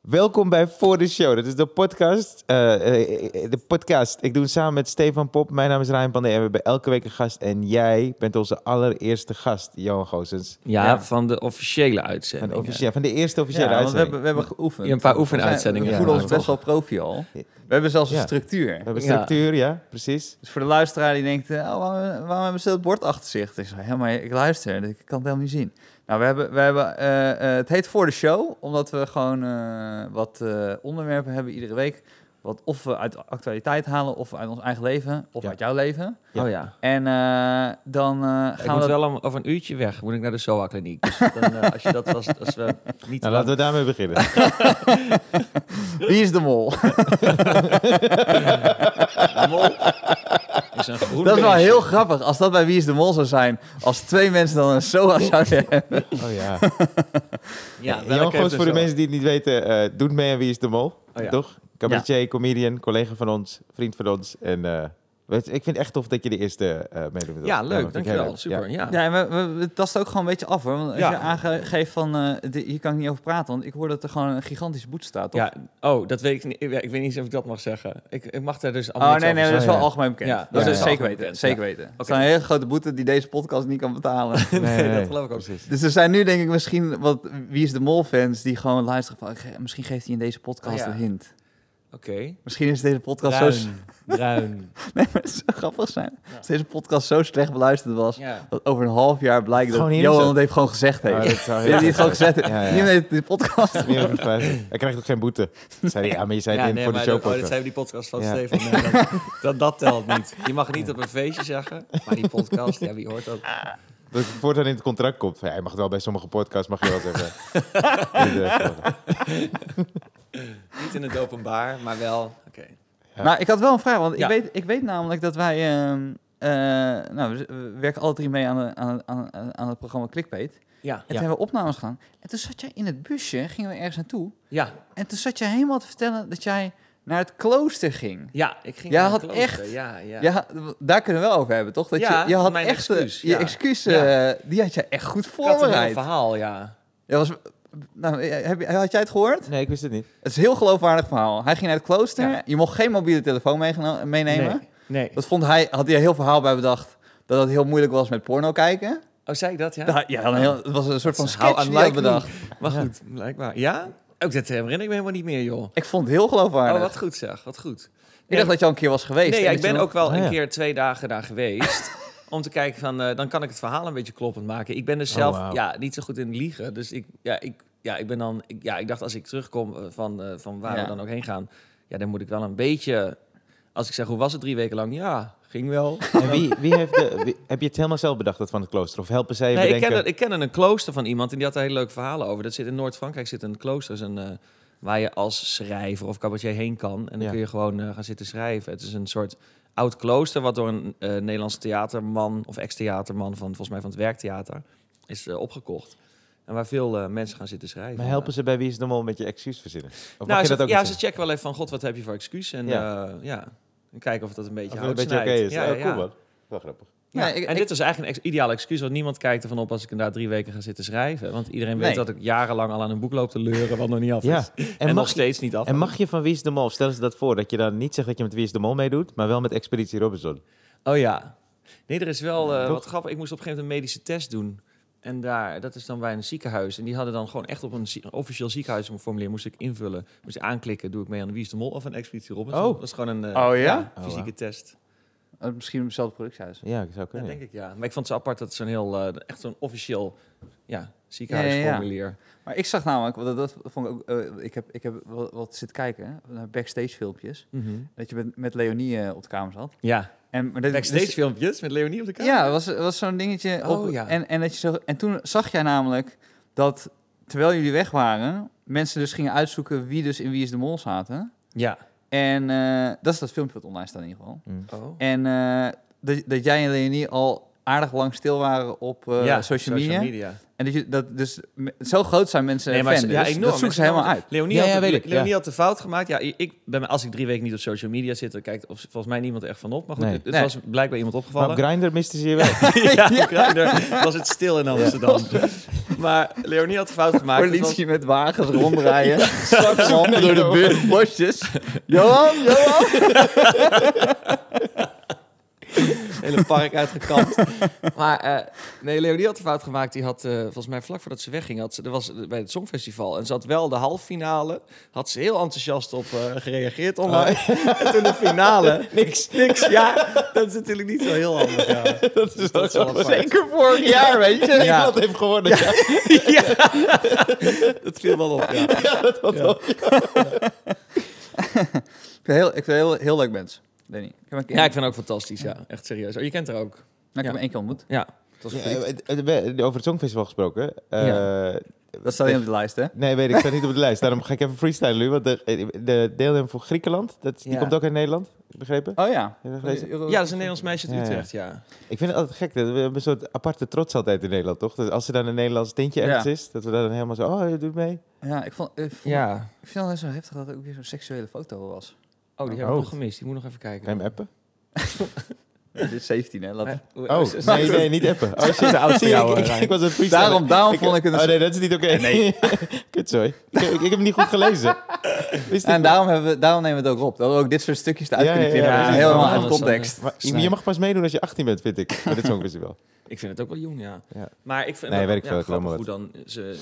Welkom bij Voor de Show. Dat is de podcast. eh, eh, eh, de podcast. Ik doe het samen met Stefan Pop. Mijn naam is Ryan Pandey en we hebben elke week een gast. En jij bent onze allereerste gast, Johan Goossens. Ja, Ja. van de officiële Van, uitzending. officieel, van de eerste Ja, officiële want we uitzending. hebben, we hebben geoefend. Ja, een paar We zijn- oefenuitzendingen We voelen ons gemaakt. best wel profi al. Ja. We hebben zelfs een Ja. structuur. We hebben Ja. structuur, ja, precies. Dus voor de luisteraar die denkt, eh, oh, waarom, waarom hebben ze dat bord achter zich? Ik zeg, ja, maar ik luister, dus ik kan het helemaal niet zien. Nou, we hebben, we hebben, eh, eh, het heet Voor de Show, omdat we gewoon eh, wat eh, onderwerpen hebben iedere week. Wat of we uit actualiteit halen, of uit ons eigen leven, of Ja. uit jouw leven. Ja. Oh ja. En eh, dan eh, Ik gaan moet we... dat- wel om- over een uurtje weg. Moet ik naar de SOA kliniek. Dus dan, eh, als je dat was, als we niet. Nou, laten we daarmee beginnen. Wie is de mol? is een groen dat is wel beestje. heel grappig. Als dat bij Wie is de mol zou zijn, als twee mensen dan een SOA zouden hebben. Oh ja. Ja, Johan welke heeft Goossens, een voor de SOA? mensen die het niet weten, eh, doet mee aan Wie is de Mol. Oh ja. Toch? Cabaretier, comedian, collega van ons, vriend van ons. En eh, weet, ik vind het echt tof dat je de eerste eh meedoet. Ja, vind ik heel leuk. Dankjewel. leuk. Super. Ja. Ja, en we, we, we tasten ook gewoon een beetje af hoor. Want als Ja. je aangeeft van, eh, dit- hier kan ik niet over praten, want ik hoor dat er gewoon een gigantische boete staat, toch? Ja, oh, dat weet ik niet. Ik weet niet eens of ik dat mag zeggen. Ik, ik mag daar dus allemaal Oh niks nee, nee, over dat is zeggen, wel ja. algemeen bekend. Ja, dat ja, is ja. zeker algemeen weten, bekend, zeker weten. Het Oké. zijn hele grote boeten die deze podcast niet kan betalen. Nee, zeggen. nee, dat geloof ik ook. Precies. dus er zijn nu denk ik misschien wat Wie is de Mol fans die gewoon luisteren van, ik ge- misschien geeft hij in deze podcast Oh, ja. een hint. Oké. Misschien is deze podcast zo... s- Bruin, bruin. Nee, maar het zou grappig zijn. Ja. Als deze podcast zo slecht beluisterd was, Ja. dat over een half jaar blijkt Gewoon dat hier Johan zo- het heeft gewoon gezegd heeft. Oh, dat zou heel Die heeft leuk het gewoon zijn. gezegd. heeft. Ja, ja. Niemand heeft de podcast Meer dan vijf. Hij krijgt ook geen boete. Zei hij, ja, maar je zei het Ja, in nee, voor de maar show. dat- oh, dat podcast. zijn we die podcast van Ja. Steven. Nee, dat, dat, dat telt niet. Je mag het niet op een feestje zeggen, maar die podcast, ja, wie hoort dat? Dat het voortaan in het contract komt. Ja, je mag het wel bij sommige podcasts, mag je wel zeggen. Dus, eh, Niet in het openbaar, maar wel. Oké. Ja. Nou, ik had wel een vraag, want Ja. ik, weet, ik weet namelijk dat wij... ehm, eh, nou, we, we werken alle drie mee aan, de- aan, aan, aan het programma Clickbait. En Ja, toen hebben we opnames gedaan. En toen zat jij in het busje, gingen we ergens naartoe. ja, En toen zat jij helemaal te vertellen dat jij naar het klooster ging. Ja, ik ging. Jij naar had een klooster, echt- Ja, ja. Ja. daar kunnen we wel over hebben, toch? Dat Ja, je, je had mijn echt eh, excuus, je ja. excuus, Ja. eh, die had jij echt goed ik had een heel voorbereid. verhaal, ja. Ja, was, nou, heb, je- had jij het gehoord? nee, ik wist het niet. Het is een heel geloofwaardig verhaal. Hij ging naar het klooster. Ja. Je mocht geen mobiele telefoon meegeno- meenemen. Nee. nee. Dat vond hij, had hij een heel verhaal bij bedacht. Dat het heel moeilijk was met porno kijken. Oh, zei ik dat, ja? Ja, ja dan heel, het was een soort van is how sketch die hij had unlikely. bedacht. Maar goed, blijkbaar. Ja? Ook dat herinner ik me helemaal niet meer, joh. Ik vond het heel geloofwaardig. Oh, wat goed zeg, wat goed. Ik dacht dat je al een keer was geweest. Nee, ja, En ik dat je ben nog- ook wel Ah, ja. een keer twee dagen daar geweest. om te kijken van, eh, dan kan ik het verhaal een beetje kloppend maken. Ik ben dus Oh, zelf wauw. ja, niet zo goed in liegen. Dus ik, ja, ik, ja, ik ben dan, ik, ja, ik dacht als ik terugkom eh, van, eh, van waar Ja. we dan ook heen gaan, ja, dan moet ik wel een beetje, als ik zeg hoe was het drie weken lang? Ja, ging wel. En wie, wie heeft de, wie- heb je het helemaal zelf bedacht, dat van het klooster? Of helpen zij je Nee, ik bedenken? ken, ik ken een klooster van iemand en die had daar hele leuke verhalen over. Dat zit in Noord-Frankrijk zit een klooster dat is een, eh, waar je als schrijver of cabaretier heen kan. En dan Ja. kun je gewoon eh, gaan zitten schrijven. Het is een soort oud klooster wat door een eh Nederlandse theaterman of ex-theaterman van volgens mij van het werktheater is eh, opgekocht. En waar veel eh, mensen gaan zitten schrijven. Maar helpen ze bij Wie is de Mol met je excuus verzinnen? Of Eh, mag nou, je ze, dat ook ja, niet ze zeggen? checken wel even van God, wat heb je voor excuus? En Ja. ja, ja. En kijken of dat een beetje Of het een hout beetje oké snijdt. is. Ja, oh, ja, cool ja. man. Wel grappig. Ja, Nee, ik- en ik- dit was eigenlijk een ex- ideaal excuus, want niemand kijkt ervan op als ik inderdaad drie weken ga zitten schrijven. Want iedereen weet Nee. dat ik jarenlang al aan een boek loop te leuren, wat nog niet af is. Ja. En, En nog mag, je, steeds niet af. en mag je van Wie is de Mol, stel ze dat voor, dat je dan niet zegt dat je met Wie is de Mol meedoet, maar wel met Expeditie Robinson. Oh ja. Nee, er is wel eh, Toch? wat grappig. Ik moest op een gegeven moment een medische test doen. En daar, dat is dan bij een ziekenhuis. En die hadden dan gewoon echt op een, zie- een officieel ziekenhuisformulier moest ik invullen. Moest ik aanklikken, doe ik mee aan de Wie is de Mol of een Expeditie Robinson. Oh. Dat is gewoon een eh, Oh ja? Oh, fysieke wauw. test. Eh, Misschien hetzelfde productiehuis. Ja, ik zou Ja, kunnen. denk ik ja. Maar ik vond het zo apart dat het zo'n heel, eh, echt zo'n officieel ja, ziekenhuisformulier. Maar ik zag namelijk, want dat, dat vond ik ook... eh, ik heb, ik heb wat, wat zitten kijken, hè, naar backstage filmpjes. Mhm. Dat je met, met Leonie eh, op de kamer zat. ja. En, maar dit, Backstage dus- filmpjes met Leonie op de kamer? Ja, was, was zo'n dingetje. Oh, op- ja. en, en, dat je zo, en toen zag jij namelijk dat, terwijl jullie weg waren... mensen dus gingen uitzoeken wie dus in Wie is de Mol zaten... Ja. En eh, dat is dat filmpje wat online staat in ieder geval. Oh. En eh, dat, dat jij en Leonie al aardig lang stil waren op eh, social, media. En dat je dat dus me- zo groot zijn mensen Nee, maar fan, ze- ja, dus enorm. dat zoeken ze helemaal Snap uit. het. Leonie, Ja, had, ja, de- weet ik, Leonie ja. had de fout gemaakt. Ja, i- ik ben, als ik drie weken niet op social media zit, dan kijkt of, volgens mij niemand er echt van op. Maar goed, Nee. het, het Nee. was blijkbaar iemand Maar opgevallen. op Grindr misten ze je wel. ja, op Grindr was het stil in Amsterdam. Maar Leonie had een fout gemaakt. Het was- Politie met wagens rondrijden. Straks handen door de bu- bosjes. Johan, Johan. hele park uitgekapt. maar eh, nee, Leonie had een fout gemaakt. Die had eh, volgens mij vlak voordat ze wegging, had ze, er was eh, bij het Songfestival. En ze had wel de halffinale, had ze heel enthousiast op eh, gereageerd online. en toen de finale. Niks. Oh. Niks, ja, dat is natuurlijk niet zo heel handig. Ja. Dat is Dat is wel apart. Zeker vorig jaar, weet je. Ja. Nederland heeft gewonnen. Ja. ja, dat viel wel op, ja. dat was Ja. wel- Ik ben heel, ik ben heel, heel leuk mens, Danny. Ik heb hem een keer, Ja, ik vind ook fantastisch, ja. Echt serieus. Oh, je kent haar ook. nou, ik heb hem ja. één keer ontmoet. Ja. Dat, Ja, was een eh, eh, eh, Over het Songfestival gesproken. eh, dat staat niet op de lijst, hè? Nee, weet ik. Staat niet op de lijst. Daarom ga ik even freestylen nu. Want de, de deelnemer voor Griekenland, dat, die Ja. komt ook uit Nederland. Begrepen? Oh ja. Heb je dat gelezen? ja, dat is een Nederlands meisje uit Ja, ja. Utrecht, eh, ja. Ik vind het altijd gek. Dat we hebben een soort aparte trots altijd in Nederland, toch? Dat als er dan een Nederlands tintje Ja. ergens is, dat we dan helemaal zo... Oh, je doet mee. Ja, ik vond, ik vond, Ja. ik vind het wel zo heftig dat het ook weer zo'n seksuele foto was. Oh, die heb ik Oh. nog gemist. Die moet nog even kijken. Ga je hem appen? Dit is 17, hè? Laten. Eh, hoe- Oh, nee, nee, niet appen. Oh, shit. oud voor Zie, jou, ik, eh, ik, ik was een freestyle. Daarom, daarom vond ik het een Oh nee, dat is niet oké. Nee. Kut, sorry. Ik, ik, ik heb hem niet goed gelezen. Wist ik En daarom, hebben we, daarom nemen we het ook op. Dat we ook dit soort stukjes eruit Ja, ja, kunnen ja. knippen. Dat is Ja, helemaal ja, uit anders dan, context. Maar je, je mag pas meedoen als je 18 bent, vind ik. Maar dit Songfestival. Ik vind het ook wel jong, ja. Ja. Maar ik vind Nee, het weet ik veel, ja, ik grappig geloof hoe dan ze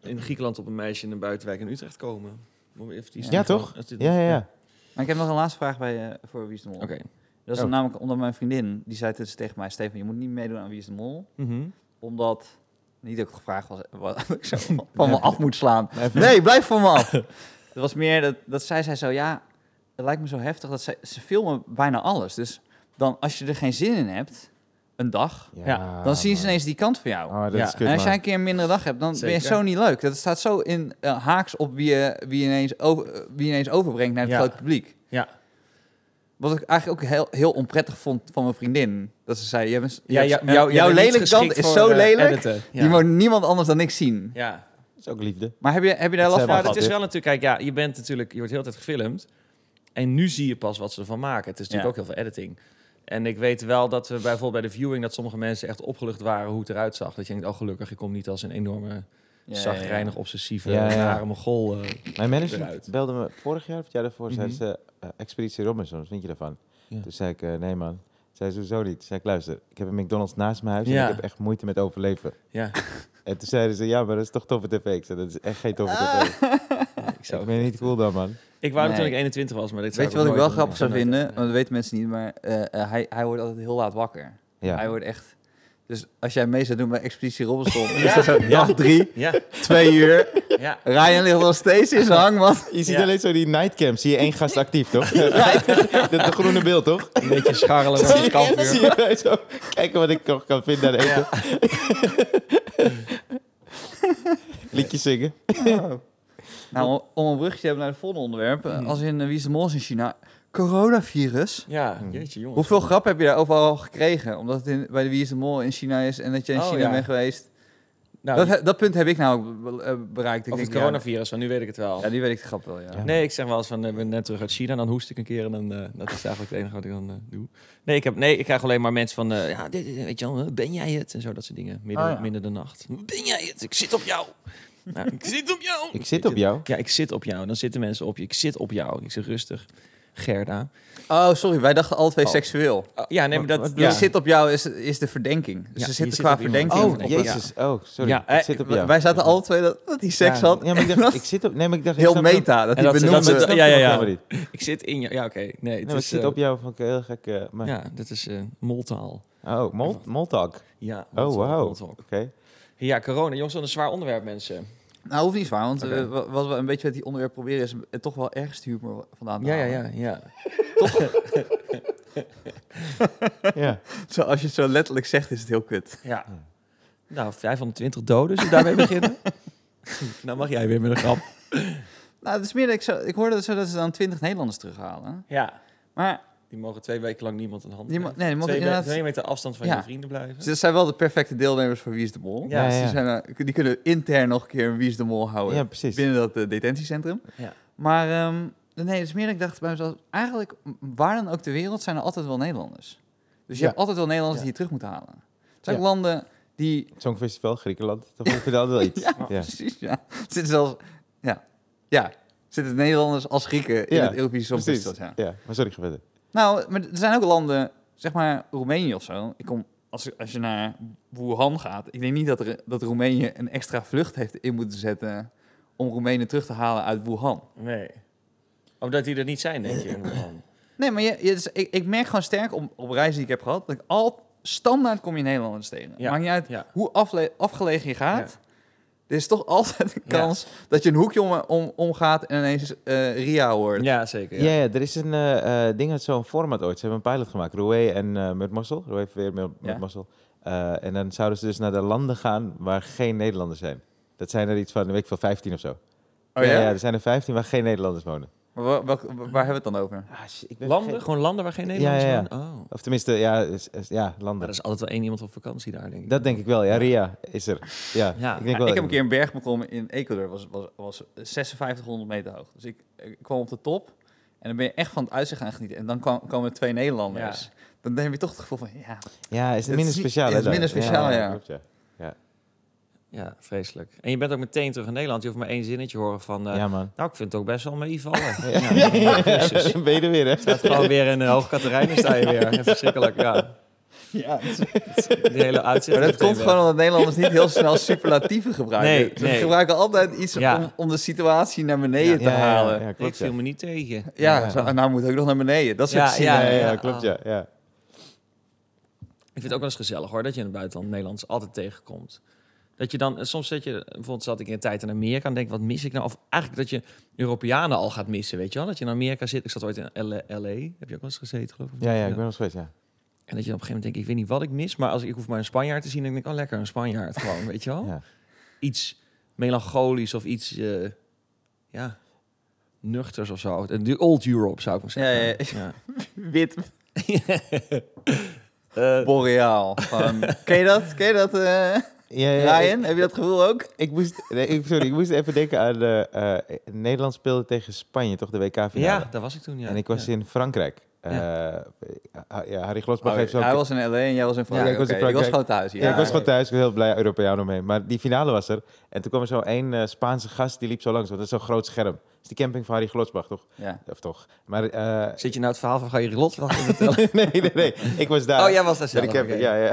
in Griekenland op een meisje in een buitenwijk in Utrecht komen. Om even die Ja, Ja, stem van- toch? als dit- Ja, ja, ja. Maar ik heb nog een laatste vraag bij, eh, voor Wie is de Mol. Oké. Dat is Oh. namelijk omdat mijn vriendin, die zei dus tegen mij... Stefan, je moet niet meedoen aan Wie is de Mol. Mhm. Omdat, niet dat ik gevraagd was eh, wat ik zo van me af moet slaan. Nee, blijf van me af. Het was meer dat, dat zij zei zo, ja, het lijkt me zo heftig. dat Ze, ze filmen bijna alles. Dus dan als je er geen zin in hebt, een dag, dan zien ze man. ineens die kant van jou. Oh, dat Ja, is kut, En als jij man. een keer een mindere dag hebt, dan ben je Zeker. zo niet leuk. Dat staat zo in eh, haaks op wie je, wie, je ineens over, eh, wie je ineens overbrengt naar het Ja. grote publiek. Ja. Wat ik eigenlijk ook heel, heel onprettig vond van mijn vriendin. Dat ze zei, jij bent- je Ja, hebt- jou- jouw- jou- jij jouw bent niet lelijke kant geschikt is voor, zo eh, lelijk. editen. Ja. Die moet niemand anders dan ik zien. ja. Dat is ook liefde. Maar heb je, heb je daar Dat last zijn van? we Nou, Mag dat is dit? wel natuurlijk... Kijk, ja, je bent natuurlijk... Je wordt heel de tijd gefilmd. En nu zie je pas wat ze ervan maken. Het is natuurlijk Ja. ook heel veel editing. En ik weet wel dat we bijvoorbeeld bij de viewing... dat sommige mensen echt opgelucht waren hoe het eruit zag. Dat je denkt, oh gelukkig, ik kom niet als een enorme... Ja, zagrijnig, obsessieve, Ja, ja. nare mogol. eh. Mijn manager Eruit. belde me vorig jaar of het jaar daarvoor. Mhm. Zei ze, eh, Expeditie Robinson, wat vind je daarvan? Ja. Toen zei ik, eh, nee man. Zei ze, hoezo niet? Toen zei ik, luister, ik heb een McDonald's naast mijn huis Ja. en ik heb echt moeite met overleven. ja, En toen zeiden ze, ja, maar dat is toch toffe tv? Ik zei, dat is echt geen toffe Ah. tv. ik zou Ik ben niet cool dan, man. Ik wou dat Nee. toen ik 21 was, maar dit zou Weet je wat ik nooit wel doen. grappig zou Nee. vinden? Nee. Want dat weten mensen niet, maar eh, eh, hij, hij wordt altijd heel laat wakker. Hij Ja. wordt echt... Dus als jij mee zou doen bij Expeditie Robinson, Ja. is dat zo Ja. dag drie, Ja, twee uur. ja. Ryan ligt nog steeds in zijn hangmat. Je ziet Ja. alleen zo die nightcam. Zie je één gast actief, toch? Dat dat groene beeld, toch? Een beetje scharrelen Dan van zie het ik echt- zie kampvuur. je mij zo kijken wat ik nog kan vinden aan eten. Ja. Liedjes zingen. Nou, om- om een brugje te hebben naar het volgende onderwerp. eh, Als in eh, Wie is de Mol is in China. Coronavirus. Ja, jeetje jongens. Hoeveel grap heb je daar overal gekregen? Omdat het in, bij de Wie is de Mol in China is en dat je in Oh, China ja. bent geweest. Nou, dat, he- dat punt heb ik nou ook be- eh, bereikt. Ik over denk, het coronavirus, want nu weet ik het wel. Ja, ja, die weet ik de grap wel, ja. Ja. Nee, ik zeg wel eens van, eh, ik ben net terug uit China, dan hoest ik een keer en dan, eh, dat is eigenlijk het enige wat ik dan eh, doe. Nee ik, heb, nee, ik krijg alleen maar mensen van, eh, ja, dit, dit- weet je wel, eh, ben jij het? En zo, dat soort dingen, midden, Ah, ja. midden de nacht. Ben jij het? Ik zit op jou. Nou, ik zit op jou. Ik zit op jou. Ja, ik zit op jou. Dan zitten mensen op je. Ik zit op jou. Ik zeg rustig. Gerda. Oh, sorry. Wij dachten alle twee Oh. seksueel. Oh, ja, nee, maar dat... Wat ja. Je zit op jou is, is de verdenking. Dus Ja, ze je zitten zit qua op iemand. verdenking. Oh, op het- jee. Jezus, oh, sorry. Ja, ik Eh, zit op w- jou. Wij zaten alle twee dat, dat hij seks Ja. had. ja, maar ik dacht, ik zit op... Nee, maar ik dacht... ik Heel snap hem- meta, dat En hij dat ze- benoemde. dat ze- Ik snap ja, ja, hem ja. helemaal niet. Nee, Ik zit in je... Ja, oké. Nee, het maar ik is, zit eh, op jou van heel gek... eh, maar- Ja, dat is eh moltaal. Oh, mol- Moltalk. Ja. Oh, moltalk, wauw. moltalk. Oké. Ja, corona. Jongens, wat een zwaar onderwerp, mensen. Nou, hoeft niet zwaar, want Oké. eh, wa- wat we een beetje met die onderwerp proberen is eh, toch wel ergens de humor vandaan te Ja, ja, halen. ja. ja. Ja. Zo, als je het zo letterlijk zegt, is het heel kut. ja. Nou, 520 doden. Zullen we daarmee beginnen? nou mag jij weer met een grap. Nou, het is meer dat ik, zo, ik hoorde dat, zo dat ze dan 20 Nederlanders terughalen. Ja. Maar Die mogen twee weken lang niemand een hand Die mo- geven. nee, die mogen twee, me- inderdaad- twee meter afstand van Ja. je vrienden blijven. ze dat zijn wel de perfecte deelnemers voor Wie is de Mol. Ja, Dus ja. Die, zijn, eh, die kunnen intern nog een keer een Wie is de Mol houden Ja, precies. binnen dat eh, detentiecentrum. Ja. Maar ehm, nee, het is meer dat ik dacht bij mezelf, eigenlijk m- waar dan ook ter wereld zijn er altijd wel Nederlanders. Dus je Ja. hebt altijd wel Nederlanders Ja. die je terug moet halen. Het zijn Ja. ook landen die... Het Songfestival, Griekenland. Toch vertelde wel iets. Ja, precies, ja. Er Zitten zelfs... Ja. Ja. Er Zitten Nederlanders als Grieken in Ja, het Eurovisie precies. Songfestival, ja. Ja. maar sorry, ga verder. Nou, maar er zijn ook landen, zeg maar Roemenië of zo. Ik kom, als, als je naar Wuhan gaat, ik denk niet dat, er, dat Roemenië een extra vlucht heeft in moeten zetten om Roemenen terug te halen uit Wuhan. Nee. Omdat die er niet zijn, denk je. in Wuhan. Nee, maar je, je- dus ik, ik merk gewoon sterk op, op reizen die ik heb gehad, dat ik al standaard kom je Nederlanders tegen. Ja, Maakt niet uit ja. hoe afle- afgelegen je gaat. Er is toch altijd een kans dat je een hoekje om, om, omgaat en ineens eh, Ria hoort. Ja, zeker. Ja, ja, er is een eh, eh, ding uit zo'n format ooit. Ze hebben een pilot gemaakt. Roué en eh met Mossel. Roué weer met, Ja. Mossel. Eh, en dan zouden ze dus naar de landen gaan waar geen Nederlanders zijn. Dat zijn er iets van, weet ik veel, 15 of zo. Oh ja? er zijn er 15 waar geen Nederlanders wonen. Maar wa- welk- waar, hebben we het dan over? Ah, shit, ik ben Landen? vergeten. Gewoon landen waar geen Ja, Nederlanders ja, zijn? ja. Oh. Maar Of tenminste, ja, is- is- ja landen. er is altijd wel één iemand op vakantie daar, denk ik. Dat denk ik wel. Ja, Ria is er. Ja, Ja, ik denk Ja, wel. ik heb een keer een berg beklommen in Ecuador, was, was, was 5600 meter hoog. Dus ik, ik kwam op de top en dan ben je echt van het uitzicht aan genieten. En dan kwam, komen twee Nederlanders. Ja. Dan heb je toch het gevoel van, ja, Ja, is het Het minder is niet- speciaal. hè, het is daar? minder speciaal, ja. klopt, ja. Ja, vreselijk. En je bent ook meteen terug in Nederland. Je hoeft maar één zinnetje horen van... eh, Ja, man. Nou, ik vind het ook best wel meevallen. Ja, Ja, Jezus. Dan ben je er weer, hè? staat gewoon weer in hoog Hoogkaterijnen sta je weer. Verschrikkelijk, ja. ja het is- Die hele uitzicht. Maar dat meteen komt weg. gewoon omdat Nederlanders niet heel snel superlatieven gebruiken. Nee, Ze nee. gebruiken altijd iets Ja. om, om de situatie naar beneden te Ja, ja, ja, halen. Ja, Ja, Ik klopt, ja. viel me niet tegen. zo, en nou moet ook nog naar beneden. Dat soort Ja, zin. ja, Ja, ja, ja, ja, klopt, ah. ja. ja. Ik vind het ook wel eens gezellig hoor, dat je in het buitenland Nederlands altijd tegenkomt. Dat je dan, eh, soms zit je, bijvoorbeeld zat ik in een tijd in Amerika en denk, wat mis ik nou? Of eigenlijk dat je Europeanen al gaat missen, weet je wel? Dat je in Amerika zit, ik zat ooit in LA, heb je ook wel eens gezeten geloof ik? Ja, ja, ik ben nog steeds, ja. En dat je op een gegeven moment denkt, ik weet niet wat ik mis, maar als ik ik hoef maar een Spanjaard te zien, dan denk ik, oh lekker, een Spanjaard gewoon, weet je wel? Ja. Iets melancholisch of iets, eh, ja, nuchters of zo. De old Europe zou ik maar zeggen. Ja, Wit ja. Eh, boreaal. Van, ken je dat? Ken je dat, eh, Ja, ja, ja, Ryan? Heb je dat gevoel ook? Ik moest, nee, ik, sorry, ik moest even denken aan... eh, eh, Nederland speelde tegen Spanje, toch? De ja, WK-finale. daar was ik toen, ja. en ik was ja. in Frankrijk. Eh, ha- ja, Harry Glosbach Oh, heeft zo... hij was in L.A. en jij was in Frankrijk. ik was in Oké, ik was Frankrijk. gewoon thuis. hier. ja, ik was ja. gewoon thuis, ik was heel blij, Europeaan omheen. Maar die finale was er. En toen kwam er zo één eh, Spaanse gast, die liep zo langs. Want dat is zo'n groot scherm. Dat is die camping van Harry Glosbach, toch? Ja. Of toch? Maar... eh, Zit je nou het verhaal van Gary Lot te vertellen? nee, nee, nee. Ik was daar. Oh, jij was daar Bij zelf. de camping, ja, ja.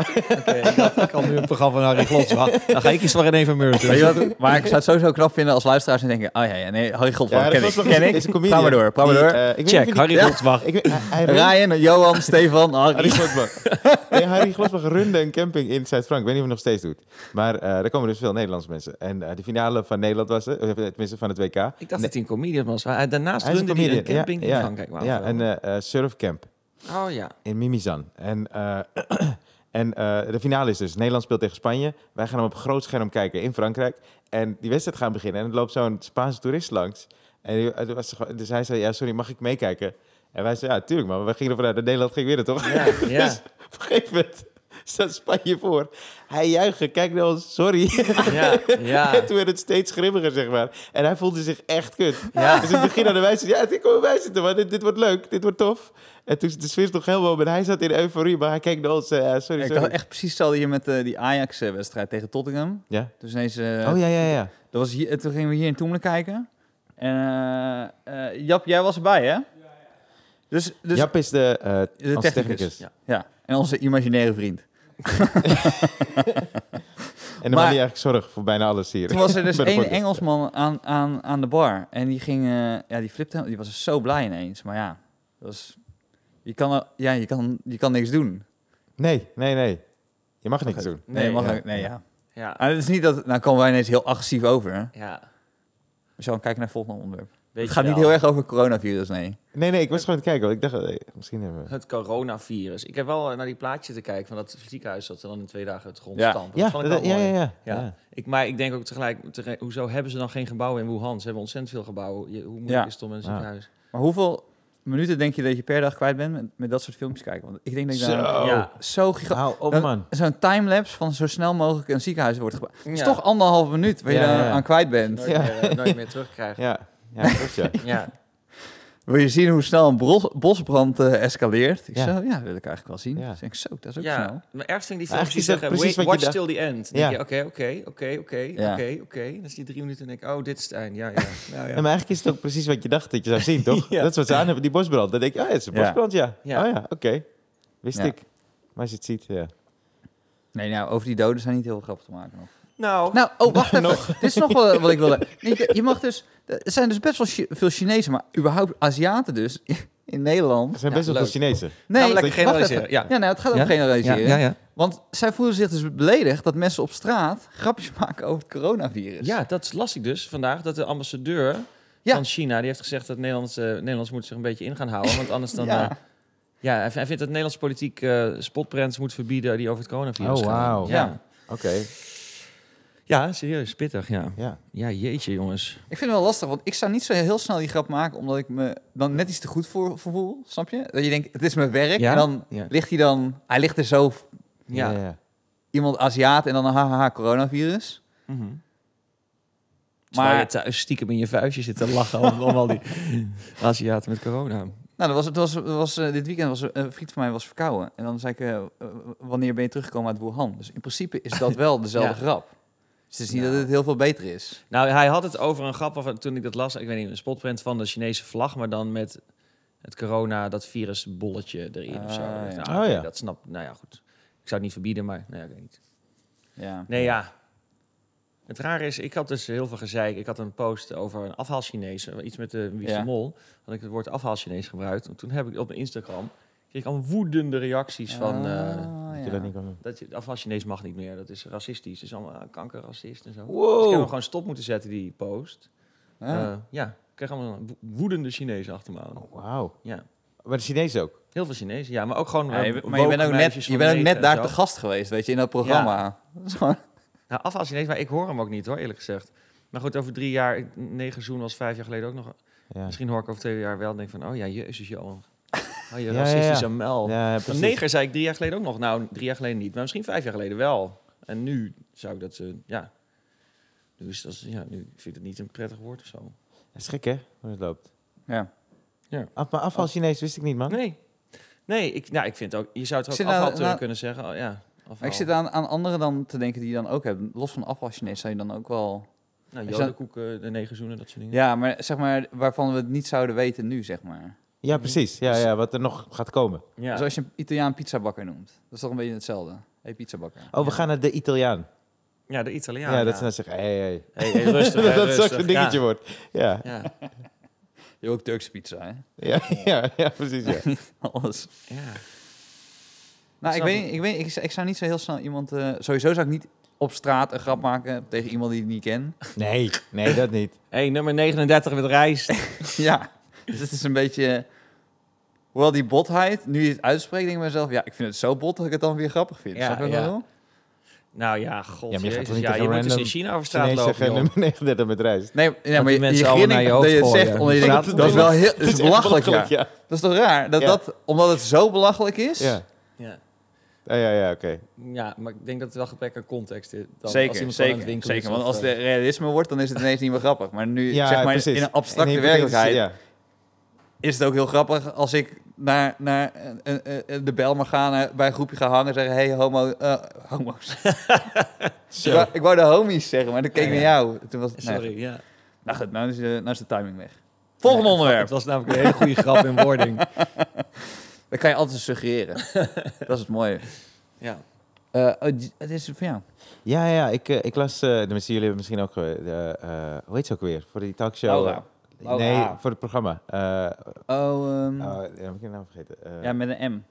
ik nu een programma van Harry Glotsbach. Dan ga ik eens voor in even Weet je wat? Maar ik zou het sowieso knap vinden als luisteraars en denken... Oh ja, ja nee, Harry Goldman Ja, ken dat ik. was nog Ken eens- ik. is een Ga comedian. maar door, ga Die, maar door. eh, ik weet niet of je Check, die- Harry Glotsbach. Ik weet- hij- hij Ryan, Johan, Stefan, Harry Harry. Glosbach. nee, Harry Glosbach runde een camping in Zuid-Frank. Ik weet niet of hij nog steeds doet. Maar eh daar komen dus veel Nederlandse mensen. En eh de finale van Nederland was er, of eh, tenminste van het WK. Ik dacht dat hij een comedian was. Maar hij- daarnaast runde hij een comedian. camping in ja, Frankrijk. Ja, wou ik ja wel. een eh, eh, surfcamp oh ja. in Mimizan. En, eh, en eh, de finale is dus, Nederland speelt tegen Spanje. Wij gaan hem op groot scherm kijken in Frankrijk. En die wedstrijd gaan beginnen. En er loopt zo'n Spaanse toerist langs. En die- het was, gewoon- dus hij zei, ja, sorry, mag ik meekijken? En wij zeiden, ja, tuurlijk man. Maar we gingen ervan uit dat Nederland ging winnen, toch? Ja, ja. Dus op een gegeven moment staat Spanje voor. Hij juichen, kijk naar ons, sorry. Ja, ja. En toen werd het steeds grimmiger, zeg maar. En hij voelde zich echt kut. Ja. Dus in het begin hadden wij zitten, ja, ik kom erbij zitten, maar dit, dit wordt leuk, dit wordt tof. En toen de sfeer is nog helemaal en hij zat in euforie, maar hij keek naar ons, eh, ja, sorry, Ik sorry. had echt precies hetzelfde hier met eh, die Ajax-wedstrijd tegen Tottenham. Ja? Dus ineens... eh, Oh, ja, ja, ja. Dat was hier, toen gingen we hier in Toemelen kijken. En eh, eh, Jap, jij was erbij, hè? Dus, dus Jap is de, eh de als technicus. technicus. Ja. ja, en onze imaginaire vriend. En dan Maar- had hij eigenlijk zorg voor bijna alles hier. Toen was er dus Bij de één podcast. Engelsman aan, aan, aan de bar. En die ging, eh, ja, die flipte, helemaal- die was zo blij ineens. Maar ja, dat was, je, kan, er- ja je, kan, je kan niks doen. Nee, nee, nee. Je mag niks doen. Nee, Nee, mag ja. ook- nee, ja. Ja. Maar het is niet dat, nou komen wij ineens heel agressief over. hè? ja. We zullen kijken naar het volgende onderwerp. Weet het je gaat niet wel. heel erg over coronavirus, nee. Nee, nee, ik was gewoon aan het kijken, want ik dacht, eh, misschien hebben we... Het coronavirus. Ik heb wel eh, naar die plaatje te kijken van dat ziekenhuis dat ze dan in twee dagen het grond Ja. stampen. Ja, dat vond ik dat- wel ja, mooi. ja, ja, Ja. ja. Ik, maar ik denk ook tegelijk, tere- hoezo hebben ze dan geen gebouwen in Wuhan? Ze hebben ontzettend veel gebouwen. Je- hoe moeilijk Ja. is het om in een Ja. ziekenhuis? Maar hoeveel minuten denk je dat je per dag kwijt bent met, met dat soort filmpjes kijken? Want ik denk dat ik daar Zo. Ja. zo gigantisch... Hou op, Dan- man. Zo'n timelapse van zo snel mogelijk een ziekenhuis wordt gebouwd. Dat is Ja. toch anderhalf minuut waar je Ja, daar ja. aan kwijt bent. Nooit, meer, eh, nooit meer terugkrijgen. Ja, ja, klopt, ja. Ja. Wil je zien hoe snel een bros- bosbrand eh, escaleert? Ik Ja. zei, ja, wil ik eigenlijk wel zien. Ja. Ik denk, zo, dat is ook snel. Ja, maar ergens vind ik die Maar eigenlijk is dat films die zeggen, precies wait, wat je watch till the end. Dan Ja. denk je, oké, oké, oké, oké, Ja. oké, oké. Dan is die drie minuten en denk ik, oh, dit is het eind. Ja, ja. Nou, ja. Ja, maar eigenlijk is het ook precies wat je dacht dat je zou zien, toch? Ja. Dat is wat ze aan hebben, die bosbrand. Dan denk je, oh, het is een Ja. bosbrand, ja. Ja. Oh ja, oké. Wist Ja. ik. Maar als je het ziet, ja. Nee, nou, over die doden zijn niet heel veel grappen te maken nog. Nou, Nou, oh, wacht even. Dit is nog wel eh, wat ik wilde. Je, je mag dus... Er zijn dus best wel Chi- veel Chinezen, maar überhaupt Aziaten dus, in Nederland. Er zijn Ja, best wel leuk. veel Chinezen. Nee, Namelijk wacht generaliseren, even. ja. nou, het gaat Ja? om generaliseren. Ja, ja, ja. Want zij voelen zich dus beledigd dat mensen op straat grapjes maken over het coronavirus. ja, dat las ik dus vandaag, dat de ambassadeur Ja. van China, die heeft gezegd dat Nederlands, eh Nederlands moet zich een beetje in gaan houden, want anders dan... Ja. eh, ja, hij vindt hij vindt dat Nederlands politiek eh spotprents moet verbieden die over het coronavirus Oh, gaan. wauw. Ja. Oké, ja, serieus, pittig, ja. ja. Ja, jeetje jongens. Ik vind het wel lastig, want ik zou niet zo heel snel die grap maken, omdat ik me dan net iets te goed voor, voor voel, snap je? Dat je denkt, het is mijn werk, Ja? en dan Ja. ligt hij dan, hij ligt er zo, Ja. ja, ja. iemand Aziat en dan een hahaha coronavirus. Mhm. Maar je Maar, thuis stiekem in je vuistje zit te lachen om, om al die Aziaten met corona. nou, dat was, het was, het was, eh, dit weekend was eh, een vriend van mij was verkouden. En dan zei ik, eh, eh, wanneer ben je teruggekomen uit Wuhan? Dus in principe is dat wel dezelfde Ja. grap. Dus het is niet Nou. dat het heel veel beter is. Nou, hij had het over een grap waarvan toen ik dat las, ik weet niet, een spotprint van de Chinese vlag, maar dan met het corona, dat virusbolletje erin of zo. Ah, Ik dacht, ja. nou, Oh, oké, ja. Dat snap Nou ja, goed. Ik zou het niet verbieden, maar nee, ik weet niet. Ja. Nee, ja. Het rare is, ik had dus heel veel gezeik. Ik had een post over een afhaal-Chinees. eh, Iets met de Wiese Ja. Mol. Had ik het woord afhaal-Chinees gebruikt. En toen heb ik op mijn Instagram... kreeg ik al woedende reacties van... eh, Ah, Dat je ja. dat niet kan doen. Dat je, afval Chinees mag niet meer, dat is racistisch. Dat is allemaal eh, kankerracist en zo. Wow. Dus ik heb hem gewoon stop moeten zetten, die post. Eh, Ja. ja, ik kreeg allemaal wo- woedende Chinezen achter me aan. Oh, Wauw. Ja, Maar de Chinezen ook. heel veel Chinezen. Ja, maar ook gewoon... Ja, eh, je bent- maar je woke bent ook net, meisjes van je bent ook negen net daar en te zo. gast geweest, weet je, in dat programma. Dat is gewoon- Nou, afval Chinees, maar ik hoor hem ook niet hoor, eerlijk gezegd. Maar goed, over drie jaar, ik- negen zoen was vijf jaar geleden ook nog. Ja, Misschien hoor ik over twee jaar wel en denk van, oh ja, jezus joh. Oh, je Ja, ja, ja. racistische mel. ja Van precies. neger zei ik drie jaar geleden ook nog. Nou, drie jaar geleden niet, maar misschien vijf jaar geleden wel. En nu zou ik dat, eh, ja. Nu, is dat, ja, nu vind ik het niet een prettig woord of zo. Het is gek, hè, hoe het loopt. Ja. Af, maar afval Chinees wist ik niet, man. Nee, nee ik, nou, ik vind ook, je zou Ik het zit ook nou- afval terug nou- kunnen zeggen. Oh, ja, Maar afval. ik zit aan, aan anderen dan te denken die dan ook hebben. Los van afwas Chinees zou je dan ook wel... nou, ik zit- jodenkoeken, de negerzoenen, dat soort dingen. Ja, maar zeg maar, waarvan we het niet zouden weten nu, zeg maar. Ja, precies. Ja, Dus- ja, wat er nog gaat komen. Ja. Zoals je een Italiaan pizzabakker noemt. Dat is toch een beetje hetzelfde. hey, pizzabakker. Oh, we gaan naar de Italiaan. Ja, de Ja, Italiaan. dat ze dan zeggen, hey, hey. Hey, hey, rustig, hè, dat dat rustig. zo'n dingetje Ja. wordt. Ja. Ja, Je ook Turkse pizza, hè? Ja, ja, ja, precies, ja. Alles. ja. Nou, ik Snap weet, ik. niet- ik, weet, ik, ik zou niet zo heel snel iemand... eh, sowieso zou ik niet op straat een grap maken tegen iemand die ik niet ken. Nee, nee, dat niet. hey, nummer 39 met rijst. ja, dus het is een beetje... Hoewel die botheid, nu je het uitspreekt, denk ik bij mezelf... Ja, ik vind het zo bot dat ik het dan weer grappig vind. Ja, Snap je wat ik ja. bedoel? Nou ja, god. Ja, maar je gaat jezus, toch niet ja, tegen je moet dus in random China over straat Chinees lopen. zeggen joh. nummer 39 met rijst. Nee, nee maar die je, mensen je allemaal grinnikt naar je dat je het hoofd zegt, gooien. omdat je Ja, denkt, dat dat is is- wel heel, dat is echt belachelijk, ja. belachelijk, ja. Dat is toch raar? Dat, Ja. dat, omdat het zo belachelijk is? Ja, Ja. Ah, ja, ja, oké. Ja, maar ik denk dat het wel gebrek aan context is. Dan, zeker, als iemand gewoon aan het zeker, winkelen zeker. is Want of, als eh, het realisme wordt, dan is het ineens niet meer grappig. Maar nu, Ja, zeg maar, precies. in een abstracte In een hypothetische- werkelijkheid Ja. is het ook heel grappig als ik naar, naar eh, eh, eh, de bel mag gaan, eh, bij een groepje ga hangen en zeggen, hey, homo, eh, homo's. Ik Zo. wou, ik wou de homies zeggen, maar toen keek Ja, ik naar ja. jou. Toen was, nee, Sorry, ja. nou goed, nou is, de, nou is de timing weg. Volgende onderwerp. Het was namelijk een hele goede grap in wording. Dat kan je altijd suggereren. dat is het mooie. Ja. Eh, oh, j- het is van jou. Ja, ja, ik, eh, ik las... eh de mensen, jullie hebben misschien ook... eh, de, eh, hoe heet ze ook weer? Voor die talkshow... Laura. eh, Laura. Nee, voor het programma. Eh Oh, ehm, oh, heb ik de naam vergeten? Eh, ja, met een M.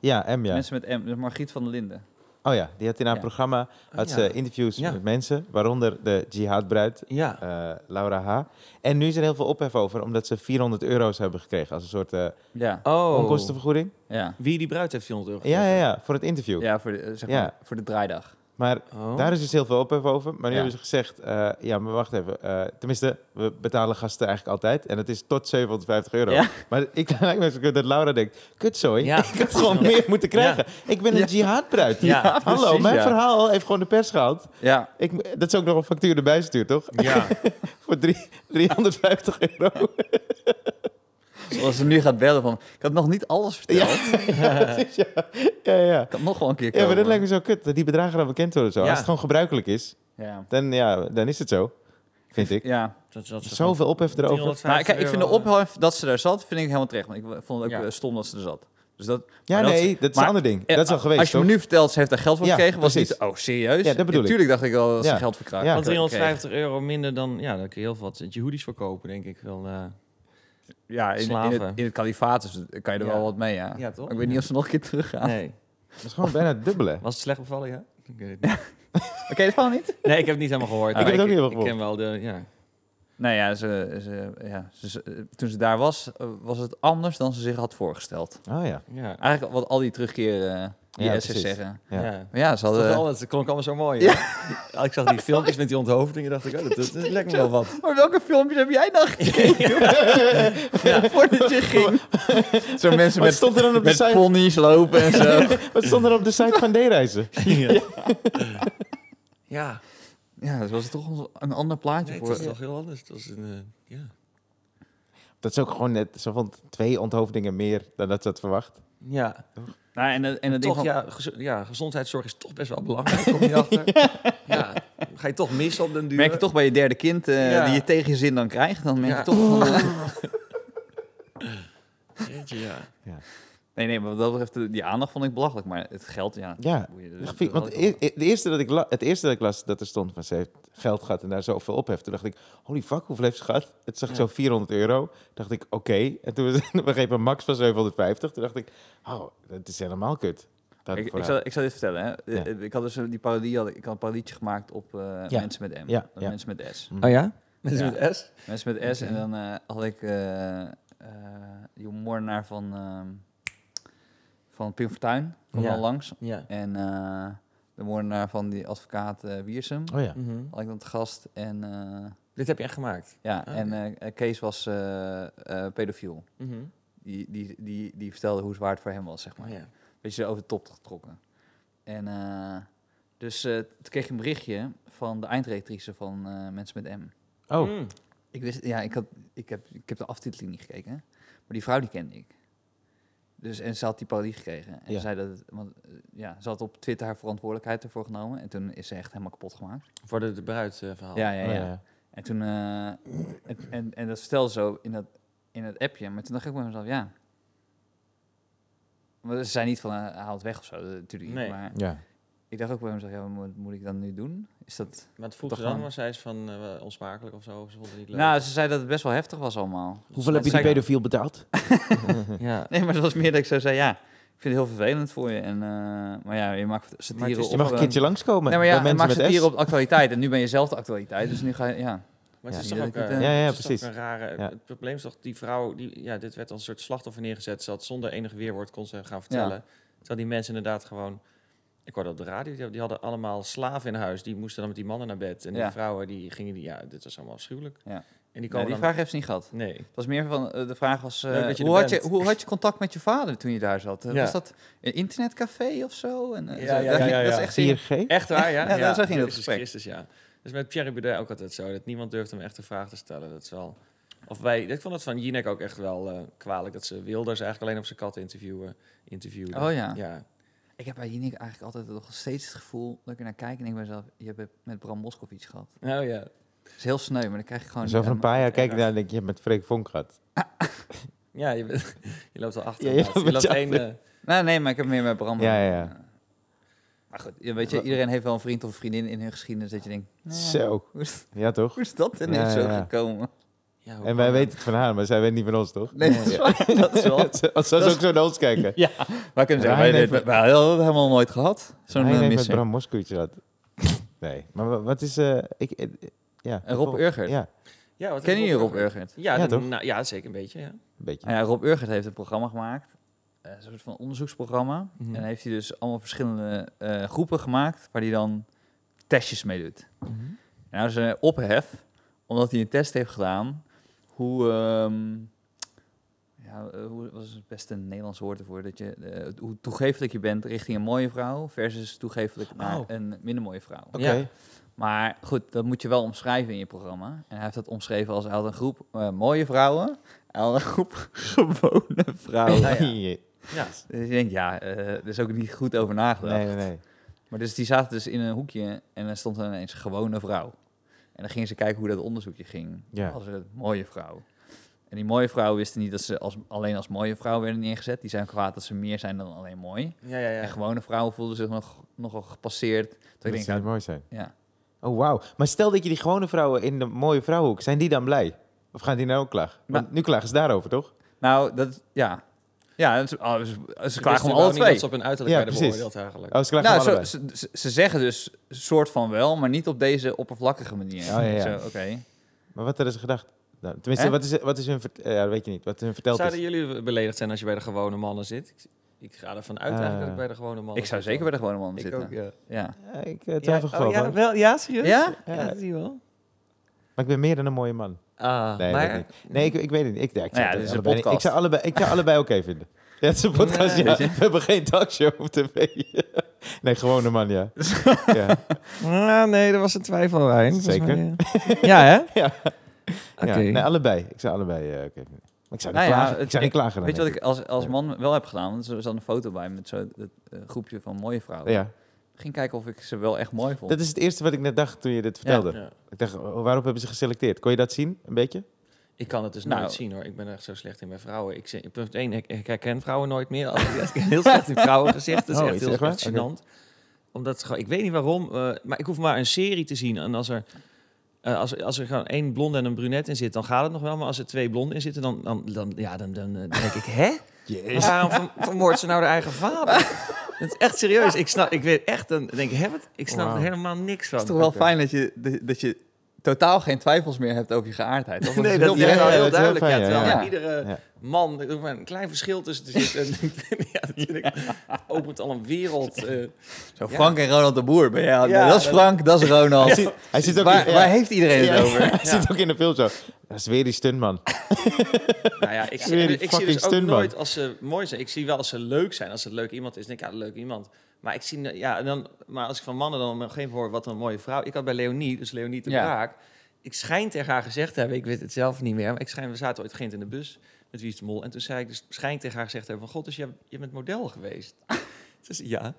ja, M, ja. Mensen met M. Dus Margriet van der Linden. Oh ja, die had in haar Ja. programma had ja. ze interviews Ja. met mensen, waaronder de jihadbruid Ja. eh, Laura H. En nu is er heel veel ophef over, omdat ze 400 euro's hebben gekregen als een soort eh, Ja. Oh. onkostenvergoeding. Ja. Wie die bruid heeft 400 euro Ja, ja, gegeven? ja, voor het interview. Ja, voor de, eh, zeg Ja. maar, voor de draaidag. Maar Oh. daar is dus heel veel ophef over. Maar nu Ja. hebben ze gezegd, eh, ja, maar wacht even. eh, tenminste, we betalen gasten eigenlijk altijd. En dat is tot 750 euro. Ja. Maar ik lijkt me zo dat Laura denkt, kutzooi, Ja. ik had gewoon meer moeten krijgen. Ik ben een Ja. jihadbruid. Ja, Hallo, precies, mijn ja. verhaal heeft gewoon de pers gehaald. Ja. Ik, mo- dat is ook nog een factuur erbij stuurt, toch? Ja. Voor drie- 350 euro. Zoals ze nu gaat bellen van, ik had nog niet alles verteld. Precies, ja. ja, ja. Ik kan nog wel een keer komen. Ja, maar dat lijkt me zo kut, dat die bedragen dan bekend worden. Zo. Ja. Als het gewoon gebruikelijk is, Ja. dan, ja, dan is het zo, vind ik. ja. Dat, dat is Zoveel ophef erover. Nou, Maar kijk, ik vind de ophef dat ze daar zat, vind ik helemaal terecht. Want ik vond het ook Ja. eh, stom dat ze er zat. Dus dat, Ja, maar dat- nee, dat is maar- een ander ding. eh, Dat is al geweest, Als je me toch? nu vertelt, ze heeft daar geld voor Ja, gekregen, was precies. niet... Oh, serieus? Ja, dat bedoel ik. Tuurlijk dacht ik wel dat Ja. ze geld voor kraakt. Ja. Want Want 350 euro minder dan, ja, dan kun je heel veel wat Jehoedies verkopen, denk ik wel. eh. Ja, in, in Slaven. het, in het kalifaat dus kan je er Ja. wel wat mee, ja. Ja, toch? Maar Ik weet niet of ze nog een keer teruggaan. Nee. Dat is gewoon bijna het dubbele. Was het slecht bevallen, ja? Ik weet het niet. Oké, dat kan niet. Nee, ik heb het niet helemaal gehoord. Ik heb maar het ook niet helemaal Ik ken wel de, ja. Nou ja, ze, ze, ja ze- ze- toen ze daar was, eh, was het anders dan ze zich had voorgesteld. Oh ja. ja. Eigenlijk wat al die terugkeren eh, die Ja, essays precies. zeggen. Ja. ja. Het Maar ja, ze was hadden... wel- het klonk allemaal zo mooi. hè? Ik zag die filmpjes met die onthoofdingen, dacht ik, oh, dat, dat, dat lijkt me wel wat. Maar welke filmpjes heb jij dan ja. voordat je ging? Zo mensen Wat met, stond er dan op de met site? ponies lopen en zo. Wat stond er op de site van D-reizen? Ja, ja, dat was toch een ander plaatje nee, het voor. was toch heel anders. Het was een, eh, ja. Dat is ook gewoon net, ze vond twee onthoofdingen meer dan dat ze had verwacht. Ja, Nou, en, dat- en dat ding toch, van, ja, gez- ja, gezondheidszorg is toch best wel belangrijk, kom je achter. ja. ga je toch missen op den duur. merk je toch bij je derde kind eh, Ja. die je tegen je zin dan krijgt, dan merk je Ja. toch van... Jeetje, ja. Nee, nee, maar wat dat betreft, de- die aandacht vond ik belachelijk, maar het geld, ja. Ja. boeien, dat- Ja, dat- Want dat- e- e- de eerste dat ik la- het eerste dat ik las dat er stond van ze heeft geld gehad en daar zoveel op heeft. Toen dacht ik, holy fuck, hoeveel heeft ze gehad? Het zag ik Ja. zo 400 euro. dacht ik, oké. En toen was op een gegeven max van 750. Toen dacht ik, oh, dat is helemaal kut. Dat Ik, voor ik, haar. zal, ik zal dit vertellen, hè. Ja. Eh, Ik had dus een- die parodie, had, ik ik had een parodietje gemaakt op eh, mensen met M. Ja, Dan ja. Mm. Mensen met S. Oh ja? Ja. Mensen met S? Mensen met S. En dan eh, had ik eh eh die moordenaar van, ehm van Pim Fortuyn kwam Ja. dan langs. Ja. En eh, de moordenaar van die advocaat eh, Wiersum Oh ja. Mhm. had ik dan te gast. En, eh, Dit heb je echt gemaakt? ja, Ah, en eh, Kees was eh, eh, pedofiel. Mhm. Die, die, die, die vertelde hoe zwaar het voor hem was, zeg maar. Oh ja. beetje over de top getrokken. En eh, dus eh, toen kreeg ik een berichtje van de eindredactrice van eh, Mensen met M. Oh, Mm. Ik wist, ja, ik, had, ik, heb, ik heb de aftiteling niet gekeken, hè. maar die vrouw die kende ik. Dus, en ze had die parodie gekregen. En Ja. ze zei dat, het- want, eh, ja, ze had op Twitter haar verantwoordelijkheid ervoor genomen. En toen is ze echt helemaal kapot gemaakt. Voor de, de bruid eh, verhaal. Ja, ja, oh ja. En toen, eh, en, en, en dat vertelde ze zo in dat, in dat appje. Maar toen dacht ik bij mezelf, ja. Maar ze zei niet van, eh, haal het weg of zo, eh, natuurlijk. Nee. niet, Maar Ja. ik dacht ook bij mezelf, ja, wat moet, moet ik dan nu doen? Is dat... Maar het vroeg Toch ze dan, gewoon- maar zij is van eh, onsmakelijk of zo. Of ze vond het niet leuk. Nou, ze zei dat het best wel heftig was allemaal. Hoeveel heb je Dat die zei- pedofiel betaald? ja. Nee, maar het was meer dat ik zo zei, ja, ik vind het heel vervelend voor je. En, eh, maar ja, je maakt Maar het satire is- op... Je mag een eh, keertje langskomen. Nee, maar ja, bij mensen je maakt met satire S. op de actualiteit. En nu ben je zelf de actualiteit, dus nu ga je... Ja, Maar het Ja. is toch ook, Ja, eh, ja, ja, het is toch precies. een rare... Ja. Het probleem is toch, die vrouw... Die, ja, dit werd als een soort slachtoffer neergezet. Ze had zonder enig weerwoord kon ze gaan vertellen. Terwijl die mensen inderdaad gewoon... Ik hoorde op de radio, die, die hadden allemaal slaven in huis. Die moesten dan met die mannen naar bed. En Ja. die vrouwen, die gingen... Die, ja, dit was allemaal afschuwelijk. Ja. En die nee, komen die dan... vraag heeft ze niet gehad. Nee. Het was meer van, eh, de vraag was, eh, Leuk dat je hoe, er had je, bent. hoe had je contact met je vader toen je daar zat? Eh, Ja. Was dat een internetcafé of zo? En, eh, Ja, zo- ja, dat- ja, ja, Dat ja. is echt serieus. 4G? Echt waar, ja? Ja, daar zag je in dat Jezus gesprek. Christus, ja. Dus met Pierre Baudet ook altijd zo. Dat niemand durft hem echt een vraag te stellen. Dat is wel... Of wij... Ik vond het van Jinek ook echt wel eh, kwalijk. Dat ze Wilders eigenlijk alleen op zijn kat interviewen. interviewde. Oh ja. Ja, Ik heb bij Jinek eigenlijk altijd nog steeds het gevoel dat ik er naar kijk en denk bij mezelf, je hebt het met Bram Moskov iets gehad. Oh ja. Dat is heel sneu, maar dan krijg je gewoon... Zo niet over een aan- paar jaar kijk ik Ja. naar en denk je, je hebt met Freek Vonk gehad. Ja, je, bent- je loopt al achter. Ja, je inderdaad. je loopt loopt een één... beetje eh, Nee, nee, maar ik heb meer met Bram. Ja, ja, ja. Maar goed, je weet je, iedereen heeft wel een vriend of vriendin in hun geschiedenis dat je denkt, nou ja, Zo. hoe is, Ja, toch? hoe is dat ineens Ja, ja, zo ja. gekomen? ja, hoe En kan wij dat? weten het van haar, maar zij weet niet van ons, toch? Nee, dat is waar, dat is wel... Als ze Dat is- ook zo naar ons kijken. Ja, maar kunnen Rijn zeggen, wij, heeft dit- met- wij hadden dat helemaal nooit gehad, zo'n Hij eh, heeft met missie. Bram Moskowitz gehad. Nee, maar wa- wat is... eh, ik, eh, ja. En Rob Urgert. Ja, Ja, wat Kennen is jullie Rob Urgert? Ja, Ja, de- toch? nou, ja, zeker een beetje, ja. een beetje. Nou ja, Rob Urgert heeft een programma gemaakt, eh, een soort van onderzoeksprogramma. Mhm. En heeft hij dus allemaal verschillende eh, groepen gemaakt waar hij dan testjes mee doet. En nou is er ophef, omdat hij een test heeft gedaan hoe... ehm, ja, eh, hoe was het beste Nederlandse woord ervoor? Dat je, eh, hoe toegefelijk je bent richting een mooie vrouw versus toegefelijk naar Oh. een minder mooie vrouw. Oké. Ja. Maar goed, dat moet je wel omschrijven in je programma. En hij heeft dat omschreven als hij had een groep eh, mooie vrouwen aan een groep gewone vrouwen. ja. ja. Ja. Dus je denkt, ja, eh er is ook niet goed over nagedacht. Nee, nee, nee. Maar dus die zaten dus in een hoekje en er stond dan ineens een gewone vrouw. En dan gingen ze kijken hoe dat onderzoekje ging. Ja. Als een mooie vrouw. En die mooie vrouwen wisten niet dat ze als, alleen als mooie vrouw werden neergezet. Die zijn kwaad dat ze meer zijn dan alleen mooi. Ja, ja, ja. En gewone vrouwen voelden zich nog, nogal gepasseerd. Toen ik Dat denk, zou nou, niet mooi zijn. ja. Oh, wauw. Maar stel dat je die gewone vrouwen in de mooie vrouwenhoek, zijn die dan blij? Of gaan die nou ook klagen? Want Maar- nu klagen ze daarover, toch? nou, dat, ja. Ja, dat is, oh, ze- ze Ik klagen wist om wel alle niet dat twee. ze op hun uiterlijk Ja, werden precies. beoordeeld eigenlijk. Oh, ze klagen Nou, van zo, allebei. ze, ze- ze zeggen dus soort van wel, maar niet op deze oppervlakkige manier. Oh, ja, ja. Zo, Oké. Maar wat hadden ze gedacht? Nou, tenminste, Hè? wat is, wat is hun... vert- eh, ja, dat weet je niet. Wat hun verteld Zouden is. jullie beledigd zijn als je bij de gewone mannen zit? Ik, ik ga ervan uit eigenlijk Oh, dat Eh, ik bij de gewone mannen Ik zou zit, zeker bij hoor. de gewone man Ik zitten. ook, ja. ja. Ja, ik eh, twijfel oh, geval. ja, wel, ja, serieus? Ja? Ja, dat zie je wel. Maar ik ben meer dan een mooie man. Ah, Nee, maar... dat niet. Nee, ik, ik weet het niet. Ik, ja, ik Nou ja, zou het dit is een allebei niet- podcast. Ik zou allebei, ik zou allebei oké vinden. Ja, het is een podcast, Nee. ja. We hebben geen talkshow op tv. nee, gewone man, ja. ja. Ah, nee, er was een twijfel wijn. Zeker. ja, hè? Ja. Oké. Ja, Nee, allebei. Ik zou allebei eh, oké vinden. Maar ik zou niet Nou ja, klagen. het- ik zou niet klagen dan, Weet je wat denk ik als, als Ja. man wel heb gedaan? Want Er zat een foto bij met zo'n eh, groepje van mooie vrouwen. Ja. Ik ging kijken of ik ze wel echt mooi vond. Dat is het eerste wat ik net dacht toen je dit vertelde. Ja. Ik dacht, oh, waarop hebben ze geselecteerd? Kon je dat zien, een beetje? Ik kan het dus Nou. nooit zien hoor. Ik ben echt zo slecht in bij vrouwen. Ik, zie- punt 1, ik, ik herken vrouwen nooit meer. Als ik ik ben heel slecht in vrouwengezichten. Dat is Oh, echt is heel het echt echt waar? gênant. Omdat het gewoon- ik weet niet waarom, eh, maar ik hoef maar een serie te zien. En als er, eh, als, er- als er gewoon één blonde en een brunette in zit, dan gaat het nog wel. Maar als er twee blonden in zitten, dan, dan, dan, ja, dan, dan eh, denk ik, hè? Jezus. Waarom ver- vermoordt ze nou haar eigen vader? Dat is echt serieus. Ik snap, ik weet echt, dan denk ik, hè, wat? Ik snap Wauw. er helemaal niks van. Het is toch wel fijn dat je, dat- dat je totaal geen twijfels meer hebt over je geaardheid. toch? Want Nee, het is dat ja, is heel ja, wel dat heel is duidelijk. heel ja, fijn, terwijl ja. bij iedere Ja. man er hoeft maar een klein verschil tussen te zitten. ja, dat vind ik- het opent al een wereld. eh. Zo Frank en Ronald de Boer. Ben je, aan- Ja, dat is dat- Frank, dat is Ronald. Hij zit ook waar, in, waar ja. heeft iedereen Ja, het over? Hij zit ook in de film zo. Dat is weer die stuntman. nou ja, ik, zie- Weer die ik zie fucking dus ook stuntman. nooit als ze mooi zijn. Ik zie wel als ze leuk zijn. Als het leuk iemand is, denk ik, ja, leuk iemand. Maar, ik zie, ja, en dan, maar als ik van mannen dan nog geen hoor, wat een mooie vrouw. Ik had bij Leonie, dus Leonie de Ja. Braak. Ik schijn tegen haar gezegd te hebben, ik weet het zelf niet meer. Maar ik schijn, we zaten ooit Gent in de bus met Wies de Mol. En toen zei ik dus schijn tegen haar gezegd te hebben van... God, dus je, je bent model geweest. Ze zei, ja.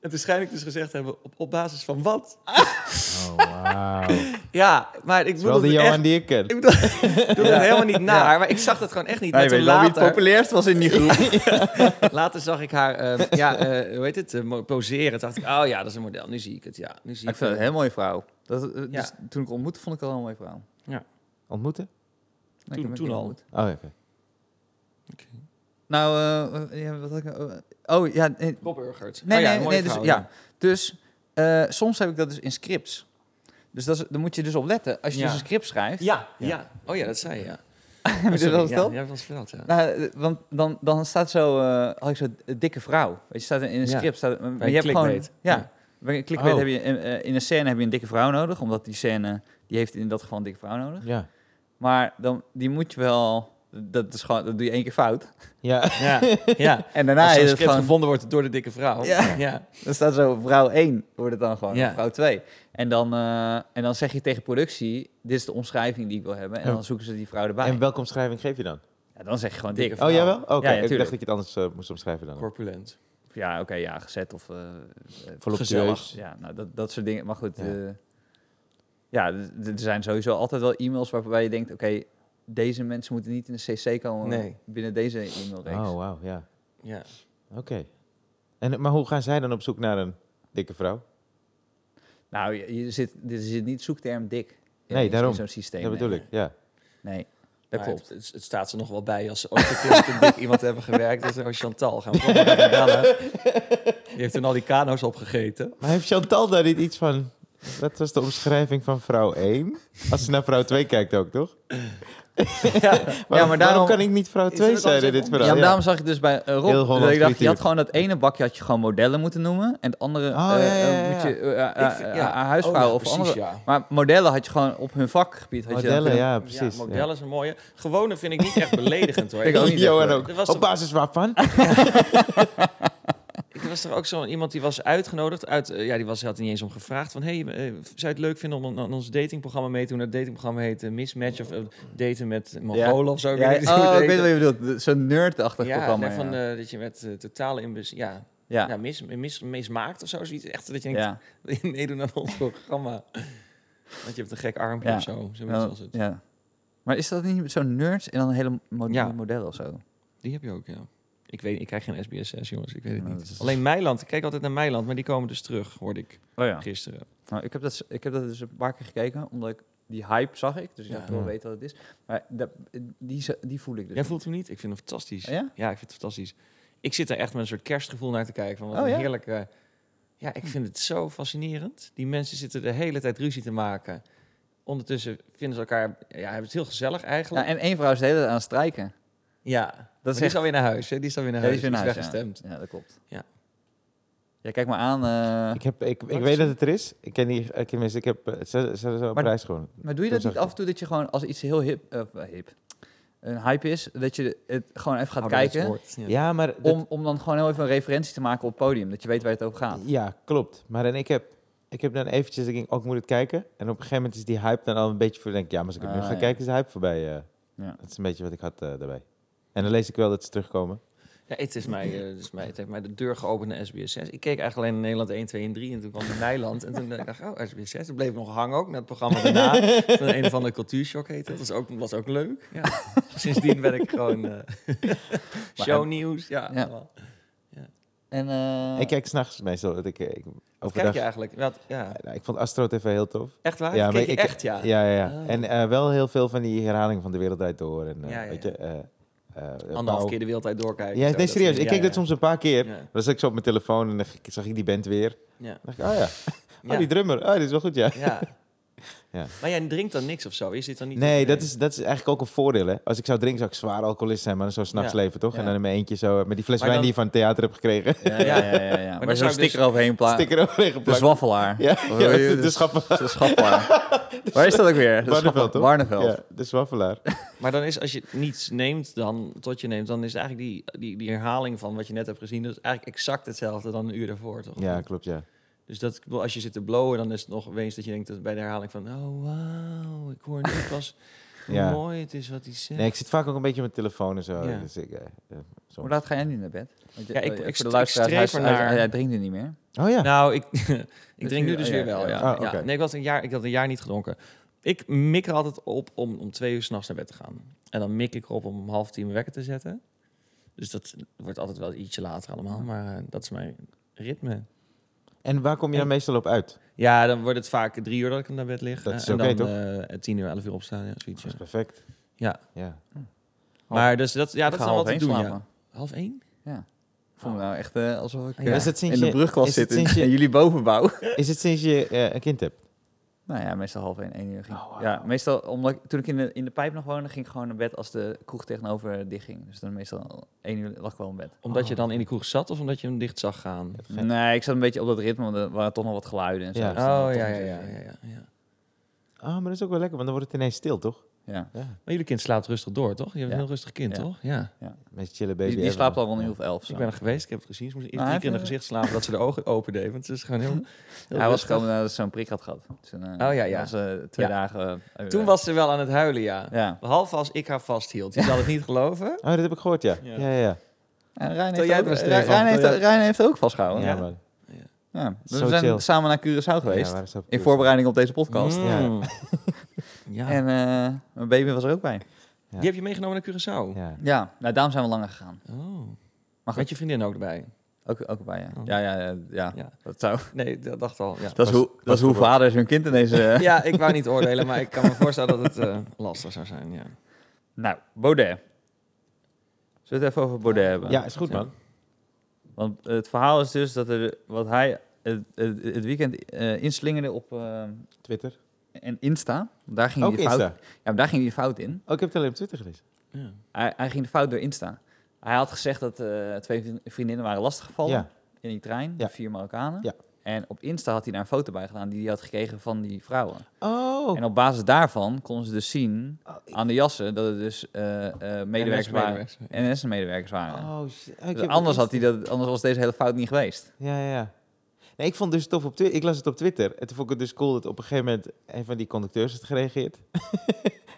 En toen schijn ik dus gezegd te hebben, op, op basis van wat? Oh, wauw. Het Ja, maar ik is wel bedoel de het Johan echt... die ik ken. Ik bedoel, ik bedoel het helemaal niet naar, maar ik zag dat gewoon echt niet. Nou, Maar je toen weet wel wie het later- populairst was in die groep. Later zag ik haar, eh, ja, eh, hoe heet het, eh, mo- poseren. Toen dacht ik, oh ja, dat is een model. Nu zie ik het, ja. Nu zie Ik ik eh, vind het het. een heel mooie vrouw. Dat, eh, dus Ja. Toen ik haar ontmoette, vond ik haar al een mooie vrouw. Ontmoeten? Nee, ik Toen- heb toen haar al. ontmoet. Oh, oké. Nou, eh, ja, wat had ik, nou- oh ja, nee, Rob Urgert. Nee, Oh ja, nee, een mooie nee, dus, vrouw, ja. dus eh, soms heb ik dat dus in scripts. Dus dat is, daar moet je dus op letten. Als je Ja. dus een script schrijft, ja. Ja, ja. Oh ja, dat zei je, ja. heb je dat wel eens ja, verteld? ja, was verteld, ja. Nou, eh, want dan, dan staat zo, eh, had ik zo eh, dikke vrouw. Weet je, staat in in een Ja. script. Staat, maar Bij je hebt gewoon, clickbait. ja, Ja. bij een clickbait Oh. heb je, in, eh, in een scène heb je een dikke vrouw nodig, omdat die scène, die heeft in dat geval een dikke vrouw nodig. Ja. Maar dan, die moet je wel, dat, is gewoon, dat doe je één keer fout. Ja. Ja, ja. En Als daarna zo'n is het script gewoon, gevonden wordt door de dikke vrouw. Ja. ja. Dan staat zo vrouw 1, wordt het dan gewoon, Ja. of vrouw 2. En dan, eh, en dan zeg je tegen productie, dit is de omschrijving die ik wil hebben. En Ja. dan zoeken ze die vrouw erbij. En welke omschrijving geef je dan? Ja, dan zeg je gewoon dikke Dikke vrouw. Oh, jawel? Oké, Ja, ja, ik tuurlijk. dacht dat je het anders eh, moest omschrijven dan. Corpulent. Ja, oké, ja, gezet of... eh, eh, Voluptueus. ja, nou, dat, dat soort dingen. Maar goed, Ja. eh, ja, d- d- er zijn sowieso altijd wel e-mails waarbij je denkt... Oké, deze mensen moeten niet in de cc komen Nee. binnen deze e-mailreeks. Oh, wauw, ja. Ja. Oké. En, maar hoe gaan zij dan op zoek naar een dikke vrouw? Nou, je, je zit, er zit niet zoekterm dik in- Nee, in daarom. zo'n systeem. Dat bedoel nee. ik, ja. Nee, dat Maar klopt. Het, het- het staat ze nog wel bij als ze ooit een keer met een dik iemand hebben gewerkt. Dat is nou Chantal. Gaan we gewoon maar even bellen. Die heeft toen al die kano's opgegeten. Maar heeft Chantal daar niet iets van... Dat was de omschrijving van vrouw 1. Als ze naar vrouw 2 kijkt ook, toch? ja, maar daarom- kan ik niet vrouw Is 2 het dan zijn in even dit om- verhaal? ja, maar daarom zag ik dus bij eh, Heel Rob, dat Holland ik dacht, je had frituur. gewoon dat ene bakje had je gewoon modellen moeten noemen. En het andere Oh, ja, eh, ja, eh, ja, moet je eh, eh, Ik vind- eh, ja. haar huisvrouw Oh ja, of precies, andere. ja. Maar modellen had je gewoon op hun vakgebied. Had je Modellen, dan ja, precies. Ja, modellen is een mooie. Gewone vind ik niet echt beledigend hoor. Ik ook niet. Johan echt, ook. Er was Op toch- basis waarvan? Er was was er ook zo'n iemand die was uitgenodigd. Uit, eh, ja, die was, had er niet eens om gevraagd. Van, hey, eh, zou je het leuk vinden om aan- aan ons datingprogramma mee te doen? Dat datingprogramma heet eh, Mismatch of eh, Daten met Mongolen of zo. Ik weet Ja, niet hoe het Oh, ik heette. weet wat je bedoelt. De- Zo'n nerdachtig ja, programma. nee, van, ja. eh, dat je met eh, totale imbus... Ja, ja. ja. mis, mis, mismaakt of zo. Zoiets. Echt dat je denkt, Ja. wil je meedoen aan ons programma? Want je hebt een gek armpje Ja. Nou, of zo. Zoiets Ja, was het. ja. Maar is dat niet zo'n nerds en dan een hele mo- Ja. model of zo? Die heb je ook, ja. Ik, weet, ik krijg geen SBS6, jongens. Ik weet het Nou, niet. dat is- Alleen Meiland. Ik kijk altijd naar Meiland, maar die komen dus terug, hoorde ik Oh ja. gisteren. Nou, ik, heb dat, ik heb dat dus een paar keer gekeken, omdat ik die hype zag ik. Dus ik Ja. dacht, ik wil Ja. weten wat het is. Maar dat, die, z- die voel ik dus. Jij niet. voelt hem niet? Ik vind hem fantastisch. Oh ja? ik vind het fantastisch. Ik zit daar echt met een soort kerstgevoel naar te kijken. Van wat Oh een ja? Hm. heerlijke... Ja, ik vind het zo fascinerend. Die mensen zitten de hele tijd ruzie te maken. Ondertussen vinden ze elkaar... Ja, hebben het heel gezellig Ja, eigenlijk. Ja. en één vrouw is de hele tijd aan het strijken. Dat is is die is echt- alweer naar huis, hè? Die is alweer naar Ja, dus huis. die is weer naar huis, weggestemd. Ja, dat klopt. Ja. Ja, kijk maar aan. eh, Ik, heb, ik, ik Wat weet is- dat het er is. Ik ken die, ik, ken mensen, ik heb eh, ze, ze, ze op Maar- reis gewoon. maar doe je dat dat zag niet ik af en toe dat je gewoon als iets heel hip, eh, hip een hype is, dat je het gewoon even gaat Ouderwets kijken woord, Ja. Ja, maar dat- om, om dan gewoon heel even een referentie te maken op het podium, dat je weet waar het over gaat. Ja, klopt. Maar en ik heb, ik heb dan eventjes, ik denk, oh, ik moet het kijken. En op een gegeven moment is die hype dan al een beetje voor. denk ik, ja, maar als ik het nu Ah, ga ja. kijken, is de hype voorbij. eh. Ja. Dat is een beetje wat ik had eh, daarbij. En dan lees ik wel dat ze terugkomen. Ja, het, is mij, eh, het, is mij, het heeft mij de deur geopend naar SBS6. Ik keek eigenlijk alleen naar Nederland 1, 2 en 3. En toen kwam ik Nijland. En toen eh, dacht ik, oh, SBS6. Dat bleef nog hangen ook, net het programma daarna. Van een of andere cultuurshock heette dat. Dat was ook, was ook leuk. Ja. Sindsdien ben ik gewoon eh shownieuws. Ja, Ja. allemaal. En, eh, ik kijk s'nachts meestal. Dat ik, eh, ik, Ah. Wat kijk overdag, je eigenlijk? Wat, ja. Ja, ik vond Astro TV heel tof. Echt waar? Ja, Ja, maar keek je ik- echt, ja. Ja, ja, ja. Ah. En eh, wel heel veel van die herhalingen van De Wereld Draait Door. En, eh, Ja, ja, weet ja. je, eh, eh, Pauw. Anderhalf keer de wereld uit doorkijken. Nou. Ja, zo, nee, dat serieus. soort Ik dingen. keek dat soms een paar keer. Ja, Dan zat ik zo op mijn telefoon en dan g- zag ik die band weer. ja. Dan dacht ik, oh ja, Ja. oh, die drummer. Oh, dit is wel goed, ja. Ja. Ja. Ja. Maar jij drinkt dan niks of zo? Je zit dan niet... Nee, dat is, dat is eigenlijk ook een voordeel. Hè? Als ik zou drinken, zou ik zwaar alcoholist zijn, maar dan zou s'nachts Ja. leven, toch? En Ja. dan in mijn eentje zo, eh, met die fles Maar wijn dan- die je van het theater heb gekregen, Ja, ja, ja. ja, ja. Maar, dan zo'n zou ik dus- sticker overheen plaatsen. sticker overheen De geplakt. zwaffelaar. Ja, Of, ja, eh, de- de de- schaffelaar. de schaffelaar. Waar is dat ook weer? De Barneveld, schaffelaar- toch? Barneveld. Ja, de zwaffelaar. Maar dan is als je niets neemt, dan tot je neemt, dan is eigenlijk die, die, die herhaling van wat je net hebt gezien, dat is eigenlijk exact hetzelfde dan een uur daarvoor, toch? Ja, klopt, ja. Dus dat ik bedoel, als je zit te blowen, dan is het nog eens dat je denkt dat bij de herhaling van, oh wauw, ik hoor nu pas hoe Ja. mooi het is wat hij zegt. Nee, ik zit vaak ook een beetje met mijn telefoon en zo. Ja. Dus ik, eh, eh, soms- Hoe laat ga jij nu naar bed? Want je- Ja, ik- eh, ik voor st- de ik luisteraars, hij, streef hij- ernaar. hij drinkt nu niet meer. Oh ja. Nou, ik, ik Dus drink nu- nu dus oh, weer ja, wel, ja. ja. Oh, oké. ja. Nee, ik, was een jaar, ik had een jaar niet gedronken. Ik mik er altijd op om om twee uur s'nachts naar bed te gaan. En dan mik ik erop om om half tien mijn wekker te zetten. Dus dat wordt altijd wel ietsje later allemaal, maar eh, dat is mijn ritme. En waar kom je dan meestal op uit? Ja, dan wordt het vaak drie uur dat ik hem naar bed lig. Dat eh, is en oké, dan toch? eh, tien uur, elf uur opstaan. Ja, zoiets, Dat is ja. perfect. Ja. Ja. Maar dus dat, ja, Ik dat ga is dan wat half ik één doe. Ja. slapen. Half één? Ik voel me nou echt eh, alsof ik Ja. eh, Is het in sinds de je- brugklas is het zit en, sinds je- en jullie bovenbouw. Is het sinds je eh, een kind hebt? nou ja, meestal half één, één uur ging. Oh, wauw. Ja, meestal, omdat ik- toen ik in de, in de pijp nog woonde, ging ik gewoon naar bed als de kroeg tegenover dicht ging. Dus dan meestal één uur lag ik wel in bed. Omdat je Oh. dan in de kroeg zat of omdat je hem dicht zag gaan? Geen- Nee, ik zat een beetje op dat ritme, want er waren toch nog wat geluiden en zo. Ja. dus dan had Oh, ik ja, toch ja, een ja, beetje- ja, ja, ja. Ah, maar dat is ook wel lekker, want dan wordt het ineens stil, toch? ja. Ja. Maar jullie kind slaapt rustig door, toch? Je hebt Ja. een heel rustig kind, Ja. toch? Ja. De meest chille baby. Die, die ever. slaapt al rond heel veel elf. Ik zo. ben er geweest, ik heb het gezien. Ze moesten Ah, iedere keer in even- het gezicht slapen dat ze de ogen open deed. Want het is gewoon heel, heel Hij was rustig. gewoon nadat ze zo'n prik had gehad. Dus, eh, ja, ja. was, eh, twee Ja. dagen. eh, Toen was ze wel aan het huilen, ja. Ja. Behalve als ik haar vasthield. Je zal het niet geloven. Oh, dat heb ik gehoord, ja. Ja, Ja. ja, ja. En Rijn Vertel heeft, jij het ook, maar, Rijn, Stefan, Rijn heeft, vertel jij Rijn heeft ook vastgehouden. ja, Oh, Ja. man. Dus Zo we zijn chill. samen naar Curaçao Ja, geweest. waar is dat in gebeurd? voorbereiding op deze podcast. ja. Mm. Ja. En eh, mijn baby was er ook bij. Die heb je meegenomen naar Curaçao? Ja. Ja, nou, daarom zijn we langer gegaan. Oh. Maar goed. Met je vriendin ook erbij? Ook, ook bij, ja. Oh. Ja, ja, ja, ja. Ja. Dat, zou, Nee, dat dacht al. Ja. dat is was- hoe, dat is hoe gebeurd. vaders hun kind ineens... eh ja, ik wou niet oordelen, maar ik kan me voorstellen dat het eh, lastig zou zijn. Ja. Nou, Baudet. Zullen we het even over Baudet hebben? ja, is goed, man. Want het verhaal is dus dat er, wat hij het, het, het weekend eh, inslingerde op eh, Twitter. en Insta. Daar ging, Ook hij de Hm, fout, Insta. ja, maar daar ging hij de fout in. Oh, ik heb het alleen op Twitter gelezen. Ja. Hij, hij ging de fout door Insta. Hij had gezegd dat eh, twee vriendinnen waren lastiggevallen Ja. in die trein, Ja. vier Marokkanen. Ja. En op Insta had hij daar een foto bij gedaan die hij had gekregen van die vrouwen. Oh. En op basis daarvan konden ze dus zien Oh, ik- aan de jassen dat het dus eh, eh, medewerkers waren. medewerkers, NS-medewerkers waren. oh, shit. Oh, ik Dus heb- Dus anders, had hij dat, anders was deze hele fout niet geweest. Ja, ja, ja. Nee, ik vond dus tof op Twitter. Ik las het op Twitter. En toen vond ik het dus cool dat op een gegeven moment een van die conducteurs had gereageerd.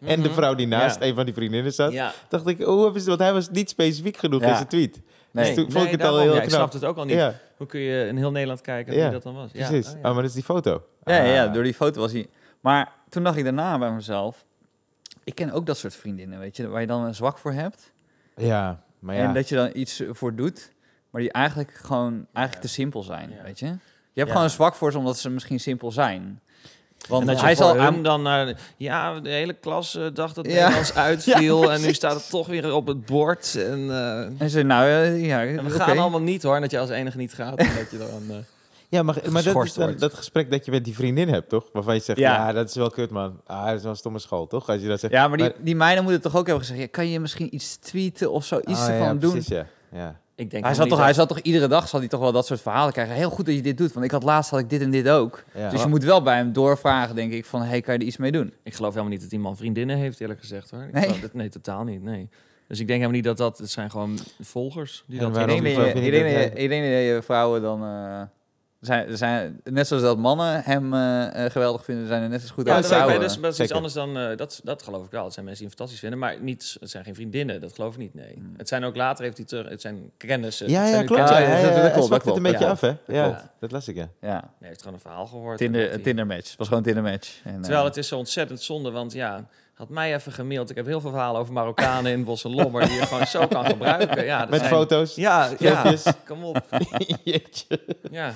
En de vrouw die naast Mhm. Ja. een van die vriendinnen zat. dus Ja. Dacht ik, hoe hebben ze, want hij was niet specifiek genoeg Ja. in zijn tweet. Nee. Dus toen vond ik het al daarom. heel Ja, ik knap. snapte het ook al niet. Ja, Hoe kun je in heel Nederland kijken Ja, wie dat dan was? Ja, precies. oh Oh, ja. maar dat is die foto. Ja, ja, Ah. door die foto was hij. Maar toen dacht ik daarna bij mezelf. Ik ken ook dat soort vriendinnen, weet je, waar je dan een zwak voor hebt. Ah, Ja, maar ja. En dat je dan iets eh, voor doet, maar die eigenlijk gewoon eigenlijk te simpel zijn, Ja. weet je. Je hebt Ja. gewoon een zwak voor ze omdat ze misschien simpel zijn. Want En dat hij je zal voor aan hem dan naar... Ja, de hele klas eh, dacht dat Ja. Nederlands uitviel. en nu precies. staat het toch weer op het bord. En, eh, en En ze nou eh, ja, we oké. gaan allemaal niet hoor. En dat je als enige niet gaat. En dat je dan... eh, ja, maar, maar dat is geschorst dan wordt. dat gesprek dat je met die vriendin hebt, toch? Waarvan je zegt, ja, Ja. dat is wel kut, man. Ah, dat is wel een stomme school, toch? Als je dat zegt. Ja, maar die, die meiden moeten toch ook hebben gezegd: ja, kan je misschien iets tweeten of zo, iets Ah, ja, ervan doen? Precies, ja. ja. ik denk Oh, Hij zal zal, toch, hij zal toch iedere dag zal hij toch wel dat soort verhalen krijgen. Heel goed dat je dit doet, want ik had laatst had ik dit en dit ook. ja. Dus je moet wel bij hem doorvragen, denk ik, van hey, kan je er iets mee doen? Ik geloof helemaal niet dat die man vriendinnen heeft, eerlijk gezegd hoor. Ik Nee. geloof dat- nee, totaal niet. Nee. Dus ik denk helemaal niet dat dat... Het zijn gewoon volgers die En dat... waarom- Ik denk ik dat geloof je- niet ik denk dat dat hij- je- ik denk dat je vrouwen dan... eh, zijn, zijn, net zoals dat mannen hem eh, eh, geweldig vinden, zijn er net zo goed Ja, aan dat, zeker. maar dat vrouwen. is, dat is iets Zeker. anders dan... eh, dat, dat geloof ik wel. Het zijn mensen die hem fantastisch vinden. Maar niet, het zijn geen vriendinnen. Dat geloof ik niet, nee. Hmm. Het zijn ook later heeft hij... Ter, het zijn kennissen. Ja, het ja, zijn nu klopt. Ah, Ja, kennissen. ja, ja, dat- dat ja, klopt, hij dat zwakt het klopt, een beetje ja. af, hè? Ja, klopt. dat las ik, ja. ja, Nee, hij heeft gewoon een verhaal gehoord. en dat Tinder, hij- Tinder match. Het was gewoon Tinder match. En, eh, Terwijl het is zo ontzettend zonde, want ja, had mij even gemaild. Ik heb heel veel verhalen over Marokkanen in Bos en Lommer die je gewoon zo kan gebruiken. Ja, dat Met zijn- foto's. Ja, ja, filmpjes. kom op. Jeetje. Ja.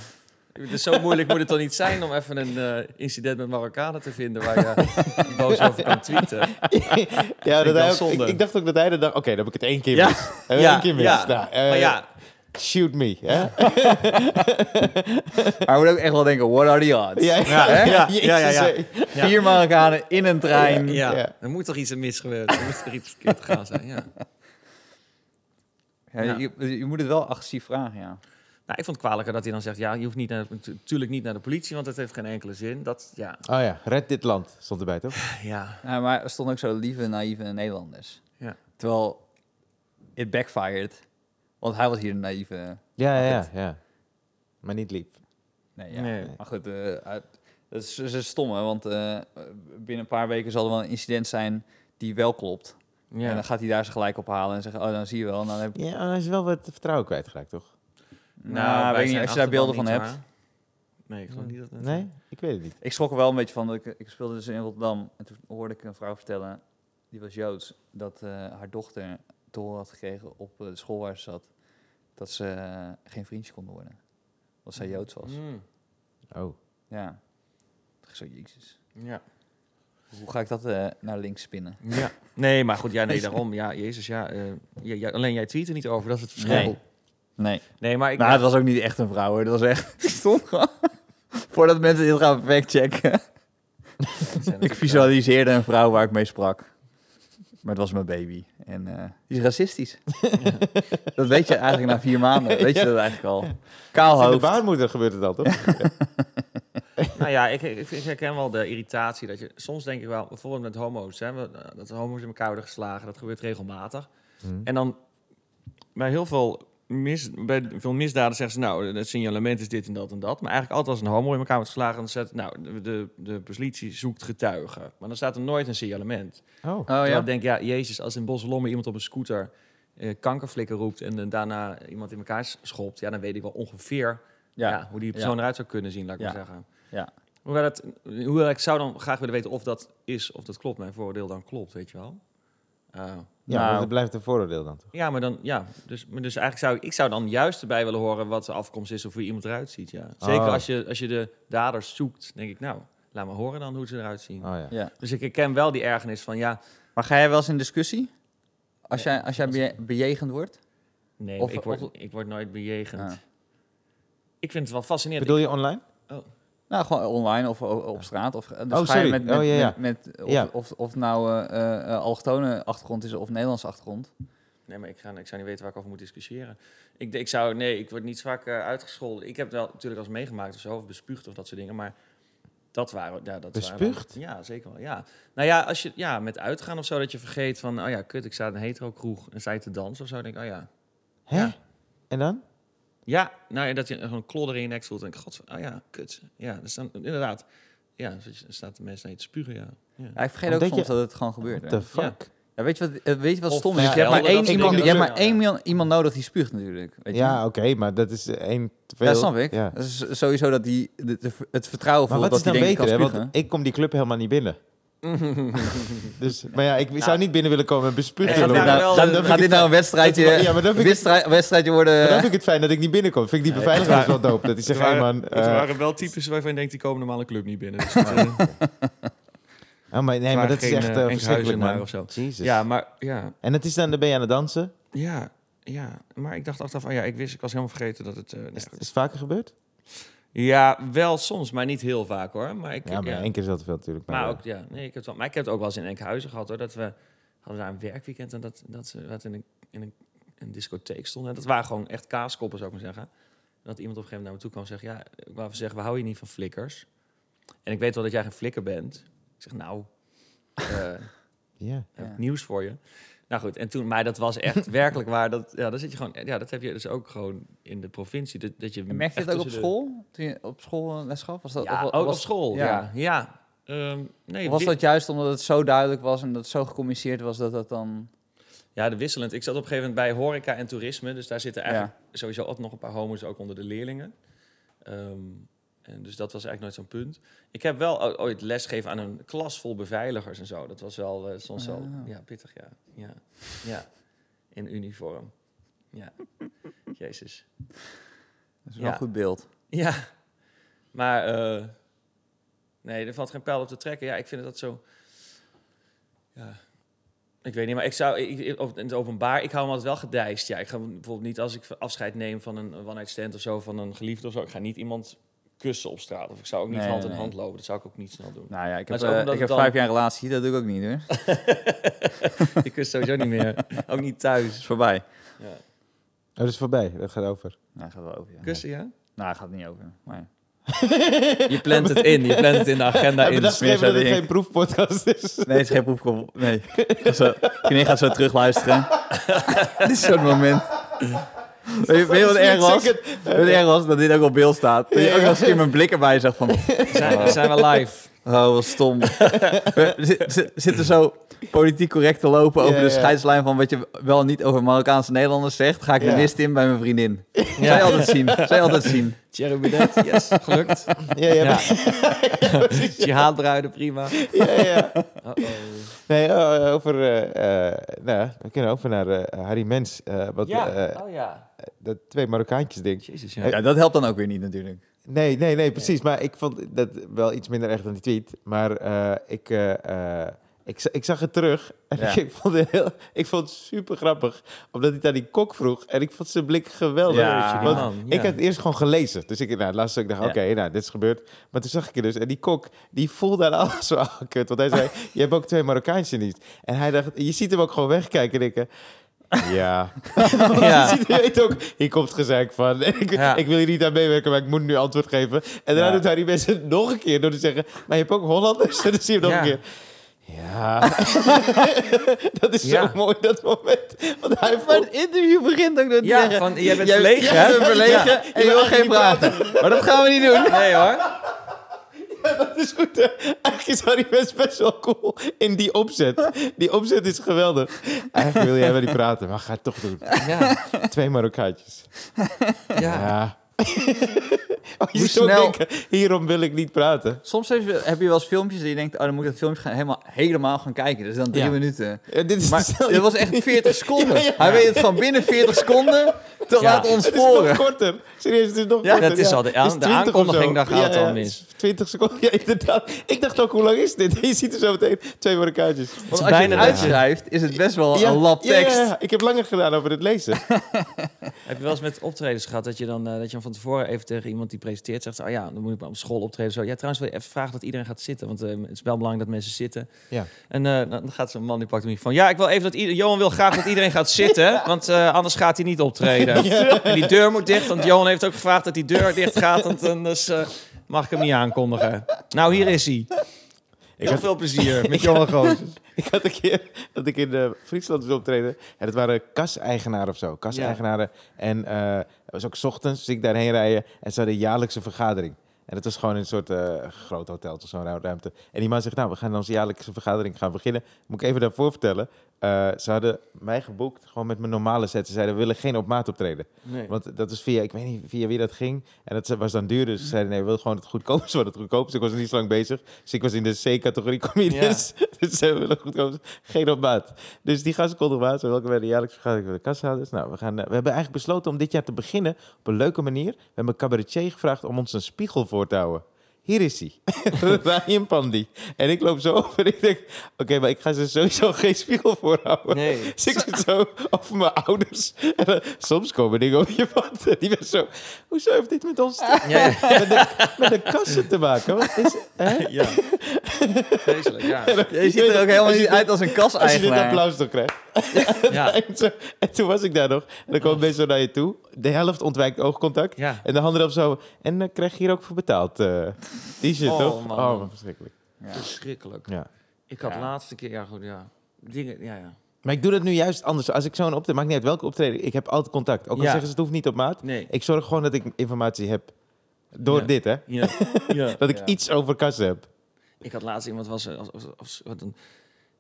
Dus zo moeilijk moet het dan niet zijn om even een eh, incident met Marokkanen te vinden waar je boos over kan tweeten. ja, dat wel hij ook- ik, zonde. ik dacht ook dat hij de dag... Oké, dan heb ik het één keer Ja. mis. Heb ik Ja, één keer mis. ja. Nou, eh, Maar ja, Shoot me. Hè? Maar we moet ook echt wel denken, what are the odds? Ja, hè? ja, Jezus, ja, ja, ja. hè? Vier Marokkanen in een trein. ja, ja. er moet toch iets mis gebeurd zijn. Er moet toch iets verkeerd gegaan zijn, ja. Ja, je, je moet het wel agressief vragen, ja. Nou, ik vond het kwalijker dat hij dan zegt, ja, je hoeft niet naar, natuurlijk niet naar de politie, want dat heeft geen enkele zin. Dat, ja, Oh ja, red dit land stond erbij, toch? ja. Ja, maar er stonden ook zo lieve, naïeve Nederlanders. Ja. Terwijl, it backfired. Want hij was hier een naïeve... Ja, ja, ja. ja. Maar niet lief. Nee, ja. Nee. maar goed, eh, uit- dat is, dat is stom, hè, want eh, binnen een paar weken zal er wel een incident zijn die wel klopt. En Nou, dan gaat hij daar ze gelijk op halen en zeggen, oh, dan zie je wel. En dan heb ik, Ja, maar hij is wel wat vertrouwen kwijtgeraakt, toch? nou, weet ik niet, als je daar beelden van hebt. Nee, ik geloof niet dat... Nee? Ik weet het niet. Ik schrok er wel een beetje van, dat ik, ik speelde dus in Rotterdam en toen hoorde ik een vrouw vertellen, die was Joods, dat eh, haar dochter te horen had gekregen op eh, de school waar ze zat, dat ze eh, geen vriendje kon worden. Omdat zij Joods was. Mm, Oh. Ja. Toen dacht ik zo, jezus. ja. Hoe ga ik dat eh, naar links spinnen? ja. Nee, maar goed, ja, nee, daarom. Ja, Jezus, ja, eh, ja, ja, Alleen jij tweet er niet over, dat is het verschil. Nee. Nee, Nee. maar ik... nou, het was ook niet echt een vrouw hoor. Dat was echt... Stond gewoon... Voordat mensen dit gaan factchecken. Ik visualiseerde een vrouw waar ik mee sprak. Maar het was mijn baby. En eh, die is racistisch. Dat weet je eigenlijk na vier maanden. Weet je dat eigenlijk al. Kaal In de Oh, hoofd. baarmoeder gebeurt het al, toch? Nou ja, ik, ik, ik herken wel de irritatie dat je... Soms denk ik wel, bijvoorbeeld met homo's, hè, we- eh, dat homo's in elkaar worden geslagen, dat gebeurt regelmatig. Hm. En dan bij heel veel, mis, bij veel misdaden zeggen ze, nou, het signalement is dit en dat en dat. Maar eigenlijk altijd als een homo in elkaar wordt geslagen, dan zet, nou, de, de, de politie zoekt getuigen. Maar dan staat er nooit een signalement. Oh. Oh Terwijl ja. ik denk, ja, jezus, als in Boslomme iemand op een scooter eh, kankerflikken roept en eh, daarna iemand in elkaar s- schopt, ja, dan weet ik wel ongeveer ja. Ja. hoe die persoon Ja. eruit zou kunnen zien, laat ik Ja. maar zeggen. Ja. Hoewel, het, hoewel ik zou dan graag willen weten of dat is, of dat klopt, mijn voordeel dan klopt, weet je wel. Eh, Ja, Nou. maar dat blijft een vooroordeel dan, toch? ja, maar dan, ja, dus, maar dus eigenlijk zou ik- ik zou dan juist erbij willen horen wat de afkomst is of hoe iemand eruit ziet, ja. Zeker Oh. als, je, als je de daders zoekt, denk ik, nou, laat maar horen dan hoe ze eruit zien. Oh ja. ja. Dus ik herken wel die ergernis van, ja, Maar ga jij wel eens in discussie? Als jij, als jij beje- bejegend wordt? nee, Of- ik, word, of- ik word nooit bejegend. Ja. Ik vind het wel fascinerend. Bedoel je online? Nou, gewoon online of o- op straat. Of, dus ga sorry. je met, met, Oh, ja, ja. met, met- of, Ja. of, of nou eh eh, eh, allochtone achtergrond is of Nederlandse achtergrond. Ik- nee, maar ik, ga, ik zou niet weten waar ik over moet discussiëren. Ik, ik zou, nee, ik word niet zo vaak eh, uitgescholden. Ik heb wel natuurlijk als meegemaakt of zo, of bespuugd of dat soort dingen, maar dat waren... Ja, dat Bespuugd? Waren, ja, zeker wel, ja. Nou ja, als je, ja, met uitgaan of zo, dat je vergeet van, oh ja, kut, ik sta in een hetero kroeg en zij te dansen of zo, dan denk ik, oh ja. Hè? Ja. En dan? Ja, nou ja, dat je gewoon een klodder in je nek voelt en denk ik, god, oh ja, kut. Ja, dus dan, inderdaad. Ja, dan staat de mensen naar je te spugen, ja. ja. Ja, ik vergeet Omdat ook soms je- dat het gewoon gebeurt. What hè. the fuck? Ja, weet je wat, eh, weet je wat Of stom is? Je hebt schelden, maar één, dat soort iemand, je dingen, hebt dat maar is- één mil- iemand nodig die spuugt natuurlijk. Weet Ja, je? oké, maar dat is eh, één te veel. Ja, snap ik. Ja. Dat is sowieso dat die de- de- het vertrouwen Maar voelt wat is dat die dan denkt, ik beter? kan Hè? spugen. Want ik kom die club helemaal niet binnen. dus, maar ja, ik Nou. zou niet binnen willen komen en bespugen. Nee, Gaat dat dit daar wel- nou, dat gaat vind ik dit het- nou een wedstrijdje, dat- ja, maar dan vind ik het- wedstrijd- wedstrijdje worden? eh, Maar dan vind ik het fijn dat ik niet binnenkom. Vind ik die beveiliger wel dope. Dat hij zegt, Er hey waren- man... Het eh, waren wel types waarvan je denkt, die komen normaal een club niet binnen. Dus, eh, ah, maar, nee, maar waren dat is geen, echt eh, eh, verschrikkelijk, Enkhuizenaar man. of zo. Jezus. ja, maar ja, En dat is dan, dan ben je aan het dansen. ja, ja. Maar ik dacht achteraf, van ja, ik wist, ik was helemaal vergeten dat het... eh, nee, Is, goed. is het vaker gebeurd? ja, wel soms, maar niet heel vaak hoor. Maar ik, Ja, maar ja. één keer is wel te veel natuurlijk. Maar eh, ook, ja, nee, ik heb het wel, maar ik heb het ook wel eens in Enkhuizen gehad hoor. Dat we hadden daar een werkweekend en dat, dat ze wat in, een, in een, een discotheek stonden. En dat waren gewoon echt kaaskoppen, zou ik maar zeggen. En dat iemand op een gegeven moment naar me toe kwam en zegt: Ja, ik wou even zeggen, we houden je niet van flikkers. En ik weet wel dat jij geen flikker bent. Ik zeg: Nou, eh, ja. Oh, heb ik Ja. nieuws voor je. Nou goed, en toen, maar dat was echt werkelijk waar. Dat, ja, dat, zit je gewoon, ja, dat heb je dus ook gewoon in de provincie. Dat, dat je En merk je echt het ook op tussen de- school? Toen je op school eh, les gaf? Was dat, Ja, of, wa- ook was, op school. ja. Ja, ja. Ehm, nee, of was wi- dat juist omdat het zo duidelijk was en dat het zo gecommuniceerd was dat dat dan... Ja, de wisselend. Ik zat op een gegeven moment bij horeca en toerisme. Dus daar zitten eigenlijk sowieso altijd nog een paar homo's ook onder de leerlingen. Ehm, en dus dat was eigenlijk nooit zo'n punt. Ik heb wel o- ooit lesgeven aan een klas vol beveiligers en zo. Dat was wel eh, soms wel Ah. ja, pittig, ja. ja. Ja, in uniform. Ja, jezus. Dat is Ja. wel een goed beeld. Ja, maar eh, nee, er valt geen pijl op te trekken. Ja, ik vind dat zo. Ja, ik weet niet, maar ik zou ik, ik- of- in het openbaar, ik hou me altijd wel gedijst. Ja, ik ga bijvoorbeeld niet als ik afscheid neem van een one-night stand of zo, van een geliefde of zo. Ik ga niet iemand kussen op straat of ik zou ook niet Nee, hand in nee. hand lopen. Dat zou ik ook niet snel doen. Nou ja, ik Maar het heb, is ook eh, omdat ik heb het dan- vijf jaar relatie, dat doe ik ook niet hoor. Het Ik kus sowieso niet meer, ook niet thuis. is voorbij. Ja. Oh, dat is voorbij. Dat gaat over. Nou, gaat wel over. Ja. Kussen, ja? Nou, hij gaat niet over. Maar ja. Je plant het in, je plant het in de agenda Hebben in. we dat smeer geschreven dat zou het ik- geen proefpodcast is? Nee, het is geen proefkom. Nee. Ik ga zo, René gaat zo terugluisteren. dit is zo'n moment. Weet je, weet je wat erg was? Weet je wat erg was? Dat dit ook op beeld staat. Dat je ook nog eens een keer mijn blik erbij zag van... Zijn, zijn we live? Oh, wat stom. We zi- zi- zitten zo politiek correct te lopen over Ja, de ja. scheidslijn van wat je wel en niet over Marokkaanse Nederlanders zegt. Ga ik Ja. de mist in bij mijn vriendin. Zij altijd zien. Zij altijd zien. Thierry Baudet, yes, gelukt. Ja, ja, Ja. maar- Jihadbruiden, prima. ja, ja. Uh-oh. Nee, eh, over... eh, eh, nou, we kunnen over naar eh, Harry Mens. eh, wat, Ja, eh, oh ja. dat twee Marokkaantjes ding. Jezus, Ja. ja. Ja, dat helpt dan ook weer niet natuurlijk. Nee, nee, nee, precies. Maar ik vond dat wel iets minder echt dan die tweet. Maar eh, ik, eh, eh, ik, za- ik zag het terug en Ja. ik, vond het heel, ik vond het super grappig. Omdat hij het aan die kok vroeg en ik vond zijn blik geweldig. Ja, Want man, ik ja. had het eerst gewoon gelezen. Dus ik nou, laatst ik dacht, Ja. oké, nou, dit is gebeurd. Maar toen zag ik het dus. En die kok, die voelde aan alles zo oh, kut. Want hij zei, je hebt ook twee Marokkaantjes niet. En hij dacht, je ziet hem ook gewoon wegkijken en denken... Ja, Ja. je ziet- je weet ook, hier komt het gezeik van. En ik, Ja. ik wil hier niet aan meewerken, maar ik moet nu antwoord geven. En daarna Ja. doet hij die mensen nog een keer door te zeggen... maar je hebt ook Hollanders, en dan zie je hem nog een Ja. keer. Ja, dat is Ja. zo mooi, dat moment. Want hij Maar voelt... het interview begint ook dat Ja, van, jij bent verlegen, jij hè? bent verlegen en je wil geen praten. Maar dat gaan we niet doen. Nee hoor. Dat is goed, hè? Eigenlijk is Harry West best wel cool in die opzet. Die opzet is geweldig. Eigenlijk wil jij wel niet praten, maar ga het toch doen. Ja, Twee Marokkaatjes. ja. Ja. Oh, je Hoe zou snel- denken, hierom wil ik niet praten. Soms heb je, heb je wel eens filmpjes dat je denkt, oh, dan moet ik dat filmpje gaan, helemaal, helemaal gaan kijken. Dus dan drie Ja. minuten. Ja, dit is Maar de snelheid. dit was echt 40 seconden. Ja, ja. Hij weet het gewoon binnen 40 seconden te laten Het is nog ontsporen. korter. Serieus, het is nog Ja, korter. dat is al de- Het is de 20 of zo. aankondiging, daar gaat het al het mis. is 20 seconden, ja, inderdaad. Ik dacht ook, hoe lang is dit? Je ziet er zo meteen twee marokkaantjes. Want is als je het bijna uitschrijft, is het best wel Ja, een lab ja, ja, tekst. ja. Ik heb langer gedaan over het lezen. Heb je wel eens met optredens gehad dat je dan eh, dat je dan van tevoren even tegen iemand die presenteert zegt: Oh ja, dan moet ik maar op school optreden. Zo ja, trouwens, wil je even vragen dat iedereen gaat zitten? Want eh, het is wel belangrijk dat mensen zitten. Ja. En eh, dan gaat zo'n man die pakt hem van: Ja, ik wil even dat iedereen. Johan wil graag dat iedereen gaat zitten, want eh, anders gaat hij niet optreden. En die deur moet dicht, want Johan heeft ook gevraagd dat die deur dicht gaat. Want anders eh, mag ik hem niet aankondigen. Nou, hier is hij. Ik Heel had, veel plezier eh, met Johan Goos. ik had een keer dat ik in eh, Friesland was optreden. En dat waren kaseigenaren of zo. Kaseigenaren. En eh het was ook 's ochtends, dus ik daarheen rijden. En ze hadden een jaarlijkse vergadering. En dat was gewoon in een soort eh, groot hotel of zo'n ruimte. En die man zegt, nou, we gaan onze jaarlijkse vergadering gaan beginnen. Moet ik even daarvoor vertellen. eh, ze hadden mij geboekt, gewoon met mijn normale set. Ze zeiden, we willen geen op maat optreden. Nee. Want dat is via, ik weet niet via wie dat ging. En dat was dan duur, dus ze zeiden nee, we willen gewoon het goedkoopste van het goedkoopste. Ik was nog niet zo lang bezig. Dus ik was in de C-categorie comedians. dus ze willen het goedkoopste. Geen op maat. Dus die gasten konden op maat. Welke bij de jaarlijkse vergadering van de kassahouders. Nou, we, gaan, eh, we hebben eigenlijk besloten om dit jaar te beginnen op een leuke manier. We hebben een cabaretier gevraagd om ons een spiegel voor te houden. Hier is hij. Ryan Pandy. En ik loop zo over en ik denk... Oké, maar ik ga ze sowieso geen spiegel voorhouden. Nee. Dus ik zit zo over mijn ouders. En dan- soms komen dingen op je pad. En Die mensen zo... Hoezo heeft dit met ons te- Ja, ja. met, de, met de kassen te maken? Wat is, hè? ja. Vreselijk, ja. Je ziet er ook helemaal niet uit als een Als je dit kaseigenaar. applaus toch krijgt. ja. En, zo- en toen was ik daar nog. En dan kwam mensen zo naar je toe. De helft ontwijkt oogcontact. Ja. En de andere op zo... En dan krijg je hier ook voor betaald. eh, die shit, Oh, toch? man. Oh, wat verschrikkelijk. Verschrikkelijk. Ja. Ik had Ja. laatste keer, ja goed, ja. Dingen, ja, ja. Maar ik doe dat nu juist anders. Als ik zo'n optreden, maakt niet uit welke optreden, ik heb altijd contact. Ook al Ja. zeggen ze het hoeft niet op maat. Nee. Ik zorg gewoon dat ik informatie heb. Door Ja. dit, hè? Ja. ja. Dat ik Ja. iets over kassen heb. Ik had laatst iemand was, eh, als, als, als- wat dan,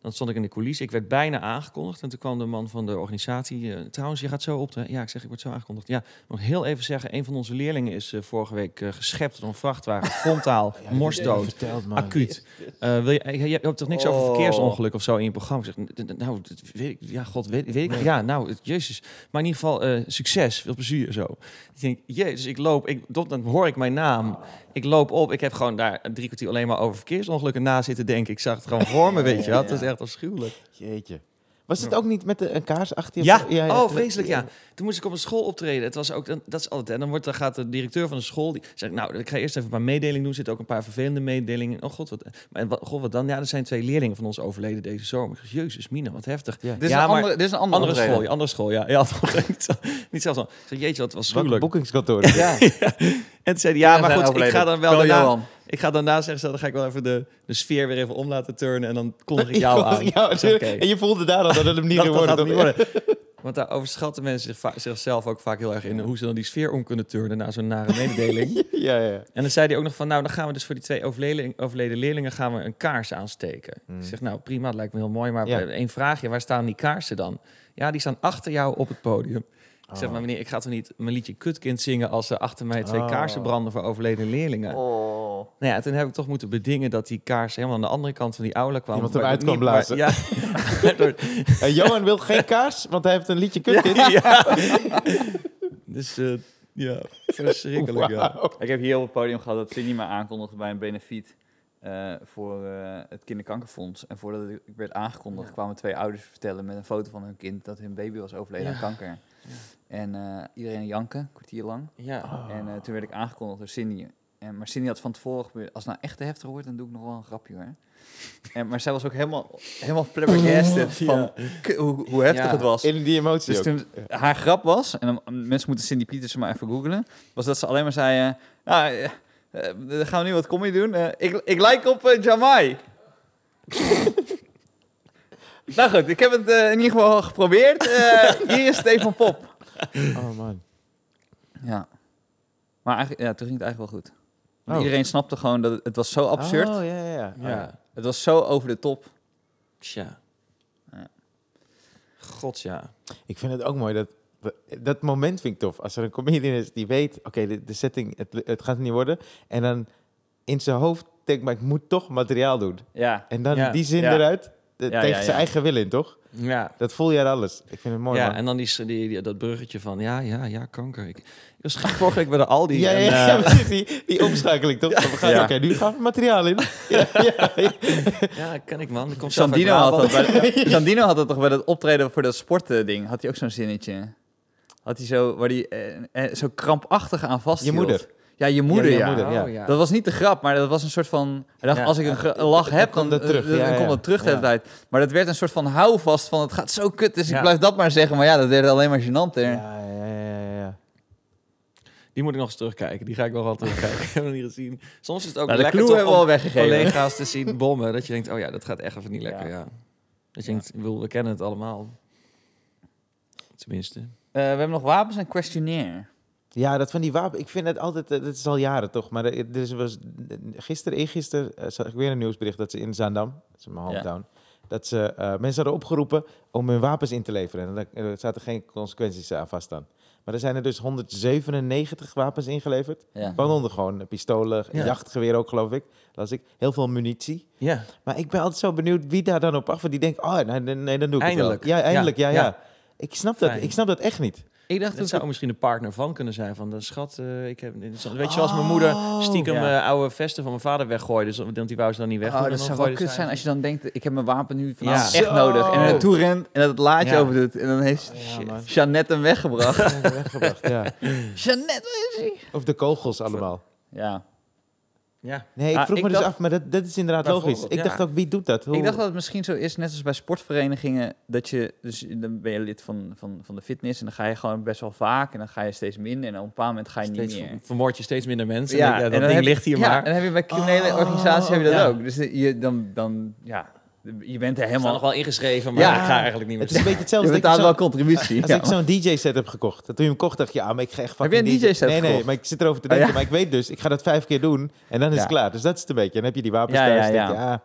dan stond ik in de coulissen. Ik werd bijna aangekondigd en toen kwam de man van de organisatie. eh, trouwens, je gaat zo op. Hè? Ja, ik zeg, ik word zo aangekondigd. Ja, nog heel even zeggen, een van onze leerlingen is eh, vorige week eh, geschept door een vrachtwagen, frontaal, morsdood. Verteld, man. Acuut. Eh, wil je, je, je hebt toch niks over Oh. verkeersongeluk of zo in je programma? Ik Zeg, "N- n- nou, dat weet ik, ja, god, weet, weet ik. Ja, nou, het- jezus. Maar in ieder geval, eh, succes, veel plezier, zo. Ik denk, jezus, ik loop, ik, dan dan hoor ik mijn naam. Ik loop op, ik heb gewoon daar drie kwartier alleen maar over verkeersongelukken na zitten denken. Ik zag het gewoon voor me, weet je wat? Dat is echt afschuwelijk. Jeetje. Was het ook niet met de, een kaars achter je? Ja, oh, vreselijk, ja. Toen moest ik op een school optreden. Het was ook, dan- dat is altijd, en dan, wordt, dan gaat de directeur van de school, die zegt, nou, ik ga eerst even een paar mededelingen doen. Er zitten ook een paar vervelende mededelingen. Oh god, wat, maar, wat, god, wat dan? Ja, er zijn twee leerlingen van ons overleden deze zomer. Ik zeg, jezus, Mina, wat heftig. Ja. Dit is Ja, een maar- andere, dit is een andere, Andere optreden. school, ja, andere school, ja. ja dat denkt zo- niet zelfs dan. Ik zeg, jeetje, wat was Welk gruwelijk. boekingskantoor? Ja, En toen zei hij, ja, maar zijn goed, ik overleden. ga dan wel Bel daarna, Johan. ik ga daarna zeggen, ze, dan ga ik wel even de, de sfeer weer even om laten turnen en dan kondig ik jou aan. Ja, Ik zeg, natuurlijk. oké. En je voelde daar al dat het hem niet ging dacht, worden. dat toch? gaat het niet worden. Want daar overschatten mensen zich va- zichzelf ook vaak heel erg in. Hoe ze dan die sfeer om kunnen turnen na zo'n nare mededeling. Ja, ja, ja. en dan zei hij ook nog van, nou dan gaan we dus voor die twee overleden, overleden leerlingen gaan we een kaars aansteken. Ik zeg, nou prima, dat lijkt me heel mooi. Maar Hmm. eh, Ja. één vraagje, waar staan die kaarsen dan? Ja, die staan achter jou op het podium. Ik zeg, maar meneer, ik ga toch niet mijn liedje Kutkind zingen als er achter mij twee Oh. kaarsen branden voor overleden leerlingen. Oh. Nou ja, toen heb ik toch moeten bedingen dat die kaars helemaal aan de andere kant van die aula kwam. Iemand hem Maar uit niet- kon blazen. maar- ja, door- En Johan wil geen kaars, want hij heeft een liedje kutkind. ja. Dus eh, ja, verschrikkelijk. Ja. Wauw. Ik heb hier op het podium gehad dat Cindy me aankondigde bij een benefiet eh, voor eh, het kinderkankerfonds. En voordat ik ik werd aangekondigd kwamen twee ouders vertellen met een foto van hun kind dat hun baby was overleden Ja. aan kanker. En eh, iedereen janken, een kwartier lang. Ja. En eh, toen werd ik aangekondigd door Cindy. En, maar Cindy had van tevoren gebeurd, als het nou echt te heftig wordt, dan doe ik nog wel een grapje hoor. En, maar zij was ook helemaal, helemaal flabbergasted van k- hoe, hoe heftig Ja. het was. eh, In die emotie Dus ook. toen haar grap was, en dan- mensen moeten Cindy Pietersen maar even googlen, was dat ze alleen maar zei, eh, nou, eh, eh, dan gaan we nu wat comedy doen. Eh, ik, ik lijk op eh, Jamai. nou goed, ik heb het eh, in ieder geval geprobeerd. Eh, hier is Stefan Pop. Oh, man. Ja. Maar eigenlijk, ja, toen ging het eigenlijk wel goed. Want Oh. Iedereen snapte gewoon dat het, het was zo absurd. Oh, ja, ja, ja. ja. Het was zo over de top. Tja. Ja. God ja. Ik vind het ook mooi dat. Dat moment vind ik tof. Als er een comedian is die weet, oké, de, de setting, het, het gaat het niet worden. En dan in zijn hoofd denkt, maar ik moet toch materiaal doen. Ja. En dan Ja. die zin Ja. eruit, de- Ja, tegen ja, zijn ja. eigen wil in, toch? Ja. Dat voel je aan alles. Ik vind het mooi, ja, man. en dan die, die, die- dat bruggetje van ja, ja, ja, kanker. Ik, ik was vorige week bij de Aldi. ja, ja, en, ja, eh, precies, die, die omschakeling, toch? We gaan, Ja. Oké, nu gaan we materiaal in. ja, ja, ja. eh, ja, ken ik man. Ik kom zelf uit Sandino had, Brabant. dat bij, Sandino had dat toch bij dat optreden voor dat sportding. Had hij ook zo'n zinnetje. Had hij zo, waar hij eh, eh, zo krampachtig aan vast moeder. Ja, je moeder, je ja. moeder. ja. Oh, ja. Dat was niet de grap, maar dat was een soort van... Hij dacht, Ja, als ik een, ge- een lach dan heb, komt dan, dat terug. eh, dan Ja, ja, komt dat terug de hele ja. tijd. Maar dat werd een soort van houvast van... het gaat zo kut, dus Ja. ik blijf dat maar zeggen. Maar ja, dat werd alleen maar gênanter. Ja, ja, ja, ja, ja. Die moet ik nog eens terugkijken. Die ga ik nog wel terugkijken. ik heb hem niet gezien. Soms is het ook Nou, de lekker clue toch hebben we om al weggegeven. collega's te zien bommen. Dat je denkt, oh ja, dat gaat echt even niet lekker. Ja. Ja. Dat je denkt, ik bedoel, we kennen het allemaal. Tenminste. Eh, we hebben nog wapens en questionnaire. Ja, dat van die wapen. Ik vind het altijd. eh, Dat is al jaren toch? Maar er, er is- was gisteren, eergisteren, eh, zag ik weer een nieuwsbericht dat ze in Zaandam, dat is mijn Ja. hometown, dat ze eh, mensen hadden opgeroepen om hun wapens in te leveren. En daar- er zaten geen consequenties eh, aan vast aan. Maar er zijn er dus 197 wapens ingeleverd. Ja. Waaronder gewoon eh, pistolen, Ja. jachtgeweer ook, geloof ik. Las ik. Heel veel munitie. Ja. Maar ik ben altijd zo benieuwd wie daar dan op af. Want die denkt, oh nee, nee, nee, dan doe ik Eindelijk. het wel. Ja, eindelijk. Ja, ja. Ja. Ik, snap dat, Fijn. ik snap dat echt niet. Ik dacht Dat toen zou misschien de partner van kunnen zijn. Van de schat, eh, ik heb... Weet je, zoals mijn moeder Oh. stiekem Ja. eh, oude vesten van mijn vader weggooide. dus- Want die wou ze dan niet weg. Oh, dat zou wel kut zijn als je dan denkt, ik heb mijn wapen nu vanavond Ja. echt Zo. nodig. En er naartoe rent en dat het laadje Ja. over doet. En dan heeft Ja, man. Jeannette hem weggebracht. Weggebracht, ja. Jeannette, waar is hij? Of de kogels allemaal. Ja. Ja. Nee, ik Ah, vroeg ik me dus dacht- af, maar dat, dat is inderdaad Bijvoorbeeld, logisch. Ik ja. dacht ook, wie doet dat? Hoe... Ik dacht dat het misschien zo is, net als bij sportverenigingen, dat je, dus dan ben je lid van, van, van de fitness en dan ga je gewoon best wel vaak en dan ga je steeds minder en op een bepaald moment ga je Steeds, niet meer. vermoord je steeds minder mensen. Ja, Ja, ja, en dat dan ding heb- ligt hier ja, maar. en dan heb je bij criminele organisaties heb je dat ja. ook. Dus je, dan, dan, ja, je bent er Helemaal helemaal... nog wel ingeschreven, maar Ja. ik ga eigenlijk niet meer. Het is een beetje je hetzelfde. als betaalt ik wel zo- contributie. Als ja. ik zo'n DJ-set heb gekocht, dat toen je hem kocht, dacht je, ja, maar ik ga echt fucking je een DJ-set Nee, nee, gekocht? maar ik zit erover te Oh, denken, ja. maar ik weet dus, ik ga dat vijf keer doen en dan is Ja. het klaar. Dus dat is het een beetje. Dan heb je die wapens Ja, thuis ja, en denk je, ja. ah,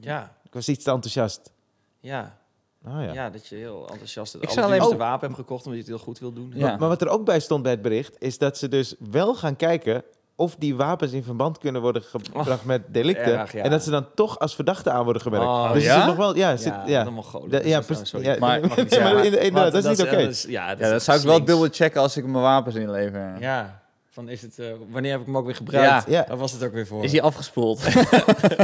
Ja, ik was iets te enthousiast. ja, Oh, ja. ja. dat je heel enthousiast het Ik ik zou allerduurste alleen- wapen hebt gekocht... omdat je het heel goed wil doen. Ja. Maar wat er ook bij stond bij het bericht, is dat ze dus wel gaan kijken of die wapens in verband kunnen worden gebracht Oh. met delicten. erg, ja. En dat ze dan toch als verdachte aan worden gemerkt. Oh, dus ja? er zit nog wel, ja, Ja, zit, ja, dan mag Da- ja, precies. Ja, Maar- nee, mag niet maar zeggen. in- in- dat is niet oké. Ja, dat, ja, is dat echt zou ik wel slinks. dubbel checken als ik mijn wapens inlever. Ja, van is het... eh, wanneer heb ik hem ook weer gebruikt? Ja. Daar was het ook weer voor. Is die afgespoeld?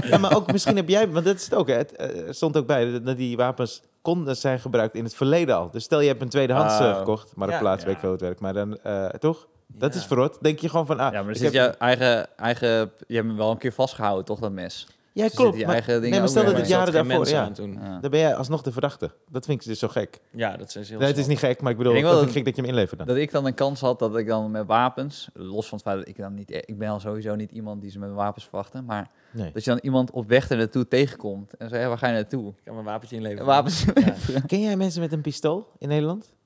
Ja, maar ook misschien heb jij, want dat is het ook, hè, het eh, stond ook bij dat- dat die wapens konden zijn gebruikt in het verleden al. Dus stel je hebt een tweedehands eh, Oh. gekocht, maar op Ja. plaats Ja. weet ik veel hoe het werkt, maar dan eh, toch? Dat Ja. is verrot. Denk je gewoon van, ah, ja, maar ik dan zit heb- jouw eigen, eigen... Je hebt hem wel een keer vastgehouden, toch, dat mes? ja, zitten klopt. je maar, eigen dingen nee, maar ook stel weer dat het bij. Er jaren zaten geen daarvoor, mensen ja, aan toen. Ja. dan ben jij alsnog de verdachte. Dat vind ik dus zo gek. Ja, dat is heel Nee, het is snel. niet gek, maar ik bedoel, Ik ik denk wel vind ik gek dat- dat je hem inlevert dan. Dat ik dan een kans had dat ik dan met wapens, los van het feit dat ik dan niet, ik ben al sowieso niet iemand die ze met wapens verwachten, maar Nee. dat je dan iemand op weg er naartoe tegenkomt en zegt, hé, waar ga je naartoe? Ik kan mijn wapentje inleveren. Wapens. Ja, Ken jij mensen met een pistool in Nederland?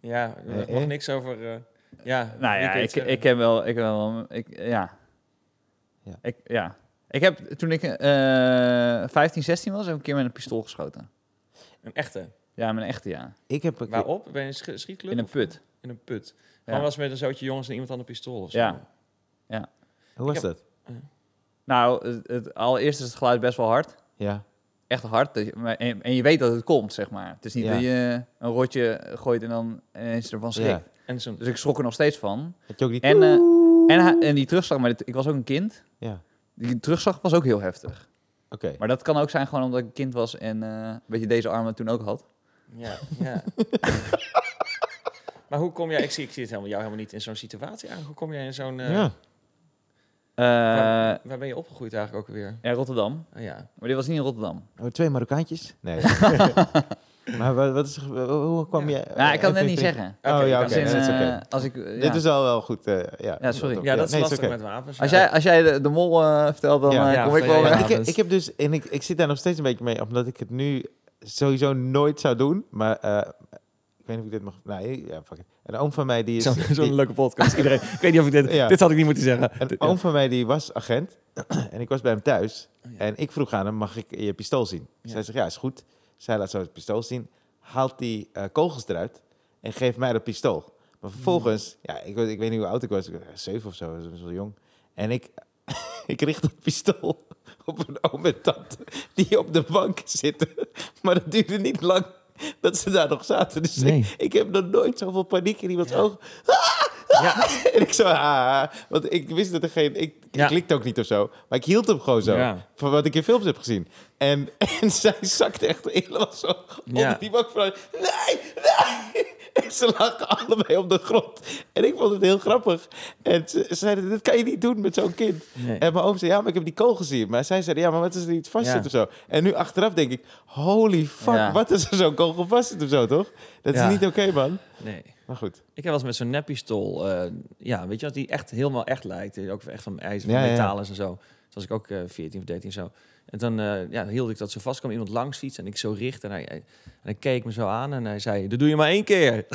ja er Eh, mag eh? niks over... eh, ja, nou ja, wie kan ik, iets ik zeggen? heb wel, ik heb wel, ik, ja. Ja. Ik, ja. Ik heb, toen ik eh 15, 16 was, heb ik een keer met een pistool geschoten. Een echte. Ja, met een echte, ja. Ik heb een keer- Waarop? Bij een sch- schietclub? In een of- put. In een put. Ja. Gewoon was met een zootje jongens en iemand aan een pistool of zo. Ja. Hoe was heb- dat? Nou, het, het- allereerst is het geluid best wel hard. Ja. echt hard. dat je- maar- en, en je weet dat het komt, zeg maar. Het is niet Ja. dat je een rotje gooit en dan ineens ervan schrikt. Ja. En zo'n... Dus ik schrok er nog steeds van. Had je ook niet... En, eh, en, hij- en die terugslag, maar dit- ik was ook een kind. ja, Die terugslag was ook heel heftig. oké. Maar dat kan ook zijn gewoon omdat ik een kind was en eh, een beetje deze armen toen ook had. Ja, ja. maar hoe kom jij... Ik zie, ik zie het helemaal, jou helemaal niet in zo'n situatie aan. Hoe kom jij in zo'n... eh, Ja. Eh, waar, waar ben je opgegroeid eigenlijk ook weer? ja, Rotterdam. Oh, ja. Maar dit was niet in Rotterdam. Oh, twee Marokkaantjes? Nee. maar wat, wat is, hoe- hoe kwam Ja. je... eh, nou, ik kan het net even- niet zeggen. Oh Oké, ja, dat oké. Als in, nee, dat is oké. eh, als ik, eh, ja. Dit is al wel goed. eh, ja. Ja, sorry. Ja, dat is nee, lastig oké. met wapens. Als ja. jij, als jij de, de mol eh, vertelt, dan Ja. eh, Ja, kom ik ja, wel ja, weer ja. Ik, heb- avonds. ik heb dus... En ik, ik zit daar nog steeds een beetje mee, omdat ik het nu sowieso nooit zou doen. Maar eh, ik weet niet of ik dit mag... Nee, ja, fuck it. Een oom van mij die is... Zo'n zo'n die- leuke podcast. Iedereen, ik weet niet of ik dit... Ja. Dit had ik niet moeten zeggen. Een oom van mij die was agent en ik was bij hem thuis. Oh, En ik vroeg aan hem, mag ik je pistool zien? Ja. Zij zegt, ja, is goed. Zij laat zo het pistool zien, haalt die eh, kogels eruit en geeft mij dat pistool. Maar vervolgens, Hmm. ja, ik, weet- ik weet niet hoe oud ik was, ik was eh, zeven of zo, was wel jong. En ik, ik richt het pistool op een oom en tante die op de bank zitten. Maar dat duurde niet lang dat ze daar nog zaten. Dus Nee. ik, ik heb nog nooit zoveel paniek in iemands Ja. ogen. Ja. en ik zo, ah, want ik wist dat er geen... Ik, Ja. ik klikte ook niet of zo, maar ik hield hem gewoon zo. Ja. Van wat ik in films heb gezien. En, en zij zakte echt helemaal zo Ja. onder die bank van... Nee, nee! En ze lagen allebei op de grond. En ik vond het heel grappig. En ze ze zeiden, dat kan je niet doen met zo'n kind. Nee. En mijn oom zei, ja, maar ik heb die kool gezien. Maar zij zeiden, ja, maar wat is er iets vast zit Ja. of zo. En nu achteraf denk ik, holy fuck, Ja. wat is er zo'n kogel vast zit of zo, toch? Dat Ja. is niet oké, man. Nee. Maar goed. Ik heb wel eens met zo'n neppistool, eh ja, weet je, als die echt helemaal echt lijkt, eh, ook echt van ijzer, van Ja, ja, ja. metaal is en zo. Toen was ik ook eh 14 of 13 zo. En dan eh, ja, hield ik dat zo vast, kwam iemand langs fiets en ik zo richt en hij, hij- en hij keek me zo aan en hij zei, dat doe je maar één keer.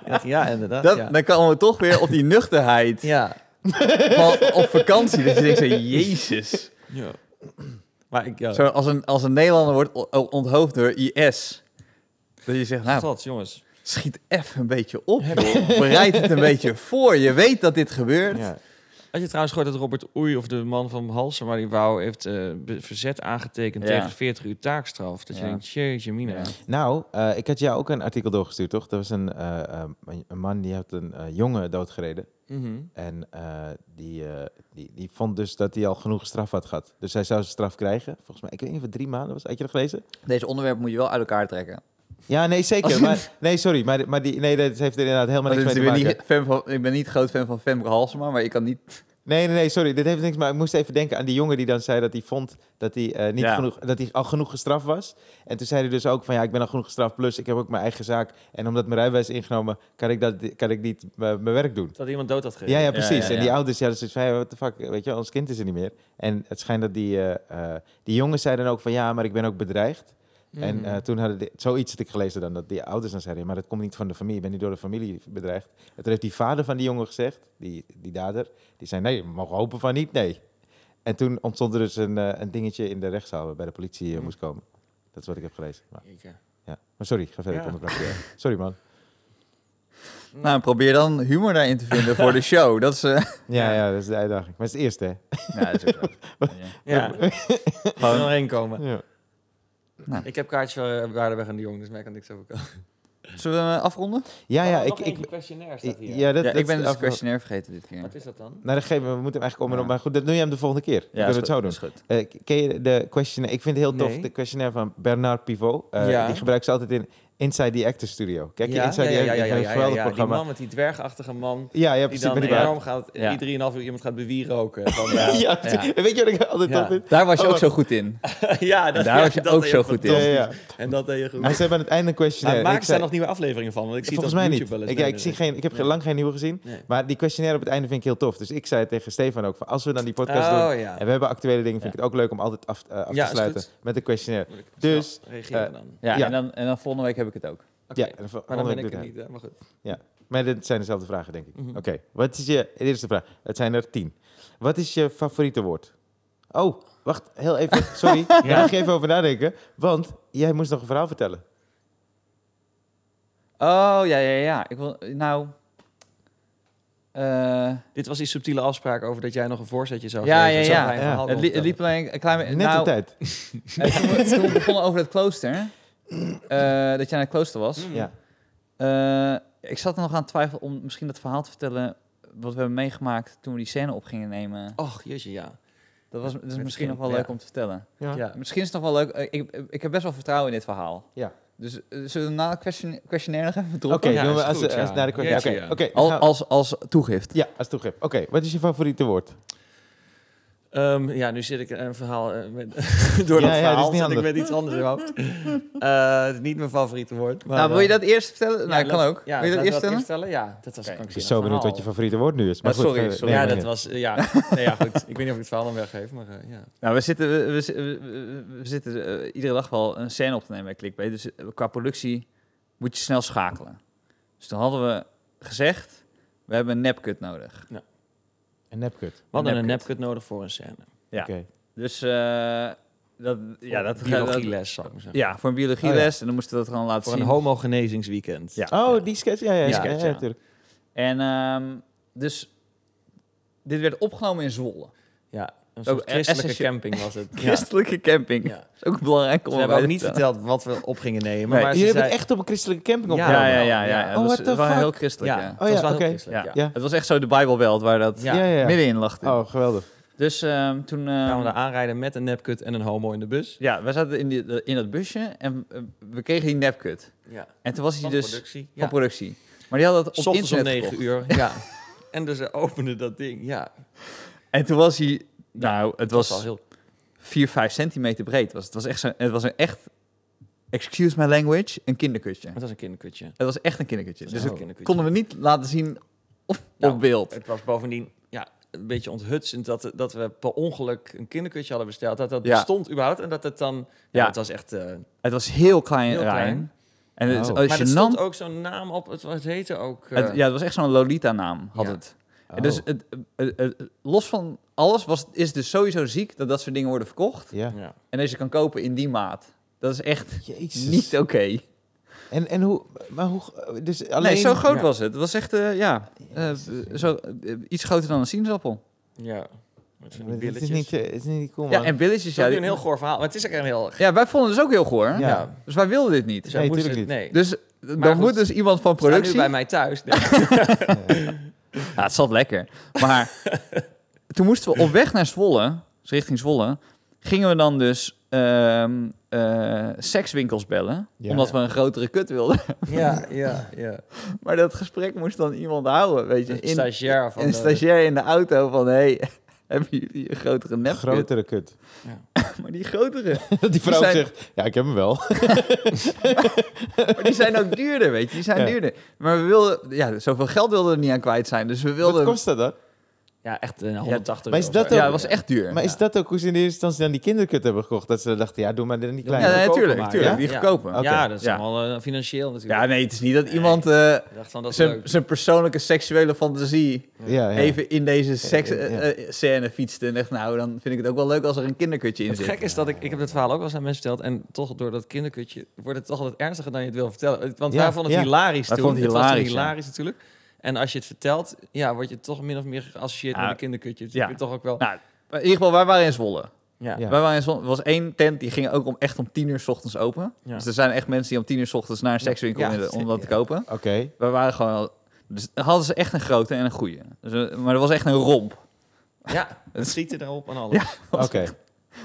Ik dacht, ja, inderdaad. Dat, ja. Dan komen we toch weer op die nuchterheid ja. van op vakantie. Dat je denkt zo, jezus. ja. Maar ik, ja, Zo, als, een, als een Nederlander wordt o- o- onthoofd door IS. Dat je zegt, nou, dat, jongens. schiet even een beetje op. joh. Bereid het een beetje voor. Je weet dat dit gebeurt. Ja. Had je trouwens gehoord dat Robert Oei, of de man van Halsen, maar die wou, heeft eh, be- verzet aangetekend Ja. tegen 40 uur taakstraf. Dat je Ja. denkt, jeetje mina. Ja. Nou, eh, ik had jou ook een artikel doorgestuurd, toch? Dat was een, eh, eh, een- een man die had een eh, jongen doodgereden. Mhm. En eh, die, eh, die, die vond dus dat hij al genoeg straf had gehad. Dus hij zou zijn straf krijgen. Volgens mij, ik weet niet of het drie maanden was. Had je dat gelezen? Deze onderwerpen moet je wel uit elkaar trekken. Ja, nee, zeker. Als- Maar, nee, sorry. Maar, maar die, nee, dat heeft er inderdaad helemaal Want niks mee Dus ik, te ben maken. niet fan van, ik ben niet groot fan van Femke Halsema, maar ik kan niet... Nee, nee, nee, sorry. Dit heeft niks, maar ik moest even denken aan die jongen die dan zei dat hij vond dat hij, eh, niet Ja. genoeg, dat hij al genoeg gestraft was. En toen zei hij dus ook van ja, ik ben al genoeg gestraft, plus ik heb ook mijn eigen zaak. En omdat mijn rijbewijs is ingenomen, kan ik, dat, kan ik niet eh, mijn werk doen. Dat iemand dood had Ja, gereden. eh, ja, precies. ja, ja. En die ouders, ja, dat is van, ja, what the fuck, weet je, ons kind is er niet meer. En het schijnt dat die, eh, eh, die jongen zei dan ook van, ja, maar ik ben ook bedreigd. En eh, toen hadden die, zoiets had ik gelezen dan, dat die ouders dan zeiden, maar dat komt niet van de familie, ik ben niet door de familie bedreigd. En toen heeft die vader van die jongen gezegd, die, die dader, die zei, nee, we mogen hopen van niet, nee. En toen ontstond er dus een, eh, een dingetje in de rechtszaal waarbij de politie eh, Hmm. moest komen. Dat is wat ik heb gelezen. Maar, Jeetje. ja. maar sorry, ga verder. Ja. ik onderbrak je. Sorry man. Nou, probeer dan humor daarin te vinden voor de show. Dat is... eh, Ja, ja, dat is de uitdaging. Maar het is het eerste, hè? nou, dat is ook zo. Ja. Ja, ik kan er doorheen komen. Ja. Ik heb kaartjes voor eh, Waardenweg en de Jong, dus mij kan niks over komen. Zullen we hem afronden? Ah, Ja, ja, ik, ik, questionnaire staat hier. eh, Ja, dat, Ja, dat ik ben is dus af- de questionnaire vergeten dit keer. Wat is dat dan? Nou, dat geven we. We moeten hem eigenlijk om en Ja. om. Maar goed, dat doe je hem de volgende keer. Ja, kunnen is we het zo goed, doen. is goed. Eh, k- ken je de questionnaire? Ik vind het heel tof. Nee. De questionnaire van Bernard Pivot. Eh, Ja. Die gebruikt ze altijd in Inside the Actors Studio. Kijk, je Inside the Actors Studio, een geweldig Die programma. man met die dwergachtige man. Ja, ja, Die precies. dan Met die baard. enorm gaat, Ja. iedereen uur iemand gaat bewieroken. Van, Ja. ja. Ja, Ja. weet je wat ik altijd Ja. tof vind? Daar was je Oh, ook zo goed in. ja, dat, Daar was je dat ook deed zo je goed in. Ja, fantastisch. ja, ja. En dat deed je goed. Maar ze hebben aan het einde een Maar questionnaire. En ik maken ze zei- daar nog nieuwe afleveringen van? Want ik zie Volgens dat mij op niet. YouTube wel Ik, eens. dus- ja, Nee, ik, nee, zie geen, ik heb lang geen nieuwe gezien. nee. Nee. Maar die questionnaire op het einde vind ik heel tof. Dus ik zei tegen Stefan ook: van, als we dan die podcast doen. Oh ja. En we hebben actuele dingen, vind ik het ook leuk om altijd af, eh, af Ja, is te sluiten goed. met een questionnaire. Moet ik snel Dus, reageren eh, dan. Ja, Ja. En, dan, en dan volgende week heb ik het ook. Oké, Ja, en Maar dan volgende ben doe ik er hij. niet, hè? maar goed. Maar dit zijn dezelfde vragen, denk ik. Mhm. Oké, wat is je eerste vraag? Het zijn er tien. Wat is je favoriete woord? Oh, wacht, heel even. Sorry, daar mag je even over nadenken. Want jij moest nog een verhaal vertellen. Oh, ja, ja, ja. Ik wil, nou... eh, Dit was die subtiele afspraak over dat jij nog een voorzetje zou Ja, geven. ja, Zo ja. ga je een Ja. verhaal het, li- het vertellen. liep alleen een klein beetje... Net nou, op tijd. eh, toen, we, toen we begonnen over het klooster, eh, dat jij naar het klooster was. Mm. Ja. Eh, ik zat er nog aan het twijfelen om misschien dat verhaal te vertellen wat we hebben meegemaakt toen we die scène op gingen nemen. Och, jeetje, ja. Dat, was, dat is Met misschien kind, nog wel ja. leuk om te vertellen. Ja. Ja. Misschien is het nog wel leuk. eh, Ik, ik heb best wel vertrouwen in dit verhaal. Ja. Dus eh, zullen we na het question- questionnaire nog even Oké, droppen? Ja, doen we is als, goed, als- ja. naar de kwestie. Ja, Oké, ja. oké, dan Al- gaan we- als, als toegift. ja, als toegrip. Oké, wat is je favoriete woord? Ehm, ja, nu zit ik een verhaal eh, met, door Ja, dat ja, verhaal. dat is niet zit ik handig. met iets anders in mijn hoofd. Eh, het is niet mijn favoriete woord. Maar, nou, wil je eh, dat eerst vertellen? nou, ja, kan laat- ook. Ja, wil je dat eerst laten we vertellen? Ja, dat was Oké. een Ik ben zo benieuwd wat je favoriete woord nu is. Maar Ja, goed, sorry, eh, sorry. ja, nee, dat nee. was... eh, Ja, nee, ja, goed. Ik weet niet of ik het verhaal dan weggeef, maar eh, ja. Nou, we zitten, we, we, we- we- we zitten eh, iedere dag wel een scène op te nemen bij Clickbait. Dus eh, qua productie moet je snel schakelen. Dus toen hadden we gezegd, we hebben een nepkut nodig. Een nepkut. We hadden een Nepkut. nepkut nodig voor een scène. Ja. Oké. Dus eh, dat, ja, dat, dat- Biologieles, zou ik maar zeggen. ja, voor een biologieles. En dan moesten we dat gewoon laten Voor een zien. homogenezingsweekend. Ja. Oh, die sketch? Ja, ja, ja. Die ja, sketch, ja, ja. natuurlijk. En ehm, dus dit werd opgenomen in Zwolle. Ja. Een soort Ook christelijke essentieel. camping was het. Ja. Christelijke camping. Ja. is ook belangrijk om Ze hebben erbij ook te niet vertellen. verteld wat we op gingen nemen. Nee. Maar Jullie ze hebben zei, het echt op een christelijke camping Ja. opgenomen? Ja, ja, ja. ja. Ja. Het Oh, was, what the het was wel fuck? heel christelijk. ja, Ja. dat was wel Oh oké. heel christelijk. Ja. Ja. Ja. Het was echt zo de Bijbelbelt waar dat Ja. Ja, ja. middenin lag. dit. Oh, geweldig. Dus ehm, toen... ehm, Gaan we daar aanrijden met een nepkut en een homo in de bus. ja, we zaten in, die, in dat busje en eh, we kregen die nepkut. Ja. En toen was hij Van dus productie. van Ja. productie. Maar die had dat op Ochtends om internet negen gekocht. uur. Ja. en dus ze openden dat ding. Ja, En toen was hij... Nou, het dat was was al heel... 4, 5 centimeter breed. Was. Het was echt zo'n- Het was een echt... Excuse my language. Een kinderkutje. Het was een kinderkutje. Het was echt een kinderkutje. Het Dus was dat een kinderkutje. konden we niet laten zien op, Nou, op beeld. Het was bovendien ja, een beetje onthutsend dat, dat we per ongeluk een kinderkutje hadden besteld. Dat dat Ja. bestond überhaupt en dat het dan... Ja, Ja. Het was echt... eh, Het was heel klein, Heel klein. Rijn. En het, Oh. is maar er gênant. stond ook zo'n naam op. Het, was- het heette ook... eh, Het- ja, het was echt zo'n Lolita-naam, had Ja. het. En Dus Oh, het, het- het- los van alles was, is het dus sowieso ziek dat dat soort dingen worden verkocht. ja. ja. En dat je kan kopen in die maat. Dat is echt Jezus. niet oké. En, en hoe... Maar hoe... Dus alleen... Nee, zo groot Ja. was het. Het was echt, eh, ja, eh, zo, eh, iets groter dan een sinaasappel. Ja. Met zo'n Maar Het is billetjes. niet, eh, het is niet cool, man. Ja, en billetjes. Het is Ja, nu die- een heel goor verhaal, maar het is ook een heel... ja, wij vonden het dus ook heel goor. Ja. Dus wij wilden dit niet. Dus wij Nee, moesten tuurlijk het- Nee. Dus dan goed, moet dus iemand van We staan nu productie... bij mij thuis. Nee. Ja, het zat lekker. Maar toen moesten we op weg naar Zwolle, dus richting Zwolle, gingen we dan dus ehm, eh, sekswinkels bellen. Ja. Omdat we een grotere kut wilden. ja, ja, ja. Maar dat gesprek moest dan iemand houden, weet je. Een In, stagiair van een de- stagiair in de auto van, hey, hebben jullie een grotere nepkut? Grotere kut. Maar die grotere, Dat die vrouw zijn- zegt, ja, ik heb hem wel. maar die zijn ook duurder, weet je. Die zijn Ja. duurder. Maar we wilden, ja, zoveel geld wilden we er niet aan kwijt zijn. Dus we wilden... Wat kost dat dan? Ja, echt een 180 180 Maar is euro dat of zo. ook- ja, het was echt duur. Maar is dat ook hoe ze in de eerste instantie dan die kinderkut hebben gekocht? Dat ze dachten, ja, doe maar die ja, kleine. nee, goedkoper tuurlijk, maken, tuurlijk. ja? Die goedkoper. Oké. Ja, dat is Ja. allemaal eh, financieel natuurlijk. Ja, nee, het is niet dat iemand... eh, Ik dacht van, dat is zijn, leuk. zijn persoonlijke seksuele fantasie Ja, ja. even in deze Ja, ja, ja. seksscène fietste. En dacht, nou, dan vind ik het ook wel leuk als er een kinderkutje in Het zit. gek is dat ik, ik heb het verhaal ook wel eens aan mensen verteld. En toch door dat kinderkutje wordt het toch altijd ernstiger dan je het wil vertellen. Het- Want Ja, wij vonden het ja. hilarisch Wij toen. vonden het was toen hilarisch, ja. hilarisch natuurlijk. En als je het vertelt, ja, word je toch min of meer geassocieerd Ja. met een kinderkutje. Dus Ja. ja. toch ook wel... Nou, in ieder geval, wij waren in Zwolle. Ja. Ja. Wij waren in Zwolle. Er was één tent, die ging ook om, echt om tien uur 's ochtends open. Ja. Dus er zijn echt mensen die om tien uur 's ochtends naar een sekswinkel Ja, willen om zeker, dat te kopen. Oké. Wij waren gewoon... al- Dus hadden ze echt een grote en een goeie. Dus, eh, maar er was echt een romp. Ja, het schieten erop en alles. Oké.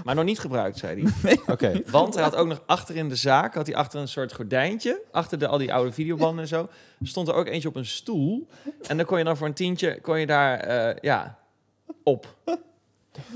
Maar nog niet gebruikt, zei hij. Oké. Want hij had ook nog achter in de zaak, had hij achter een soort gordijntje, achter de, al die oude videobanden en zo, stond er ook eentje op een stoel. En dan kon je dan voor een tientje, kon je daar, eh, ja, op.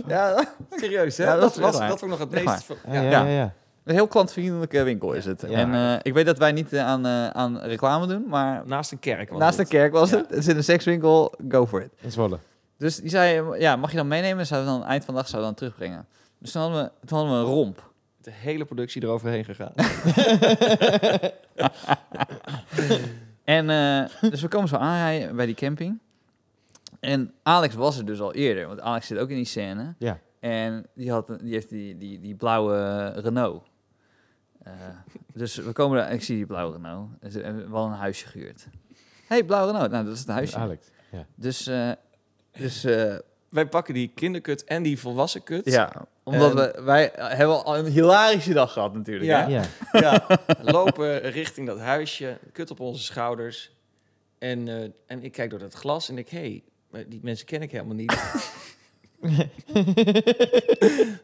Ja, Serieus, hè? Ja, dat dat, is was, waar. dat vond ik nog het Echt meest... Ah, ja. Ja, Ja. ja, ja. een heel klantvriendelijke winkel is het. Ja. En eh, ik weet dat wij niet eh, aan, eh, aan reclame doen, maar Naast een kerk was Naast het. een kerk was Ja. het. Het is in een sekswinkel. Go for it. In Zwolle. Dus die zei, ja, mag je dan meenemen? Zouden we dan eind van de dag zouden we dan terugbrengen. Dus toen hadden we, toen hadden we een romp. de hele productie eroverheen gegaan. En eh, dus we komen zo aanrijden bij die camping. En Alex was er dus al eerder, want Alex zit ook in die scène. Ja. En die, had, een- die heeft die, die, die blauwe Renault. Eh, dus we komen daar, ik zie die blauwe Renault. Dus, eh, we hadden een huisje gehuurd. hey, blauwe Renault. Nou, dat is het huisje. Alex. Ja. Dus, eh, dus eh, Wij pakken die kinderkut en die volwassen kut. Ja, omdat En- we, wij hebben al een hilarische dag gehad natuurlijk. Ja. hè? Ja. Ja. Lopen richting dat huisje, kut op onze schouders. En, eh, en ik kijk door dat glas en ik, hé, hey, maar die mensen ken ik helemaal niet. Er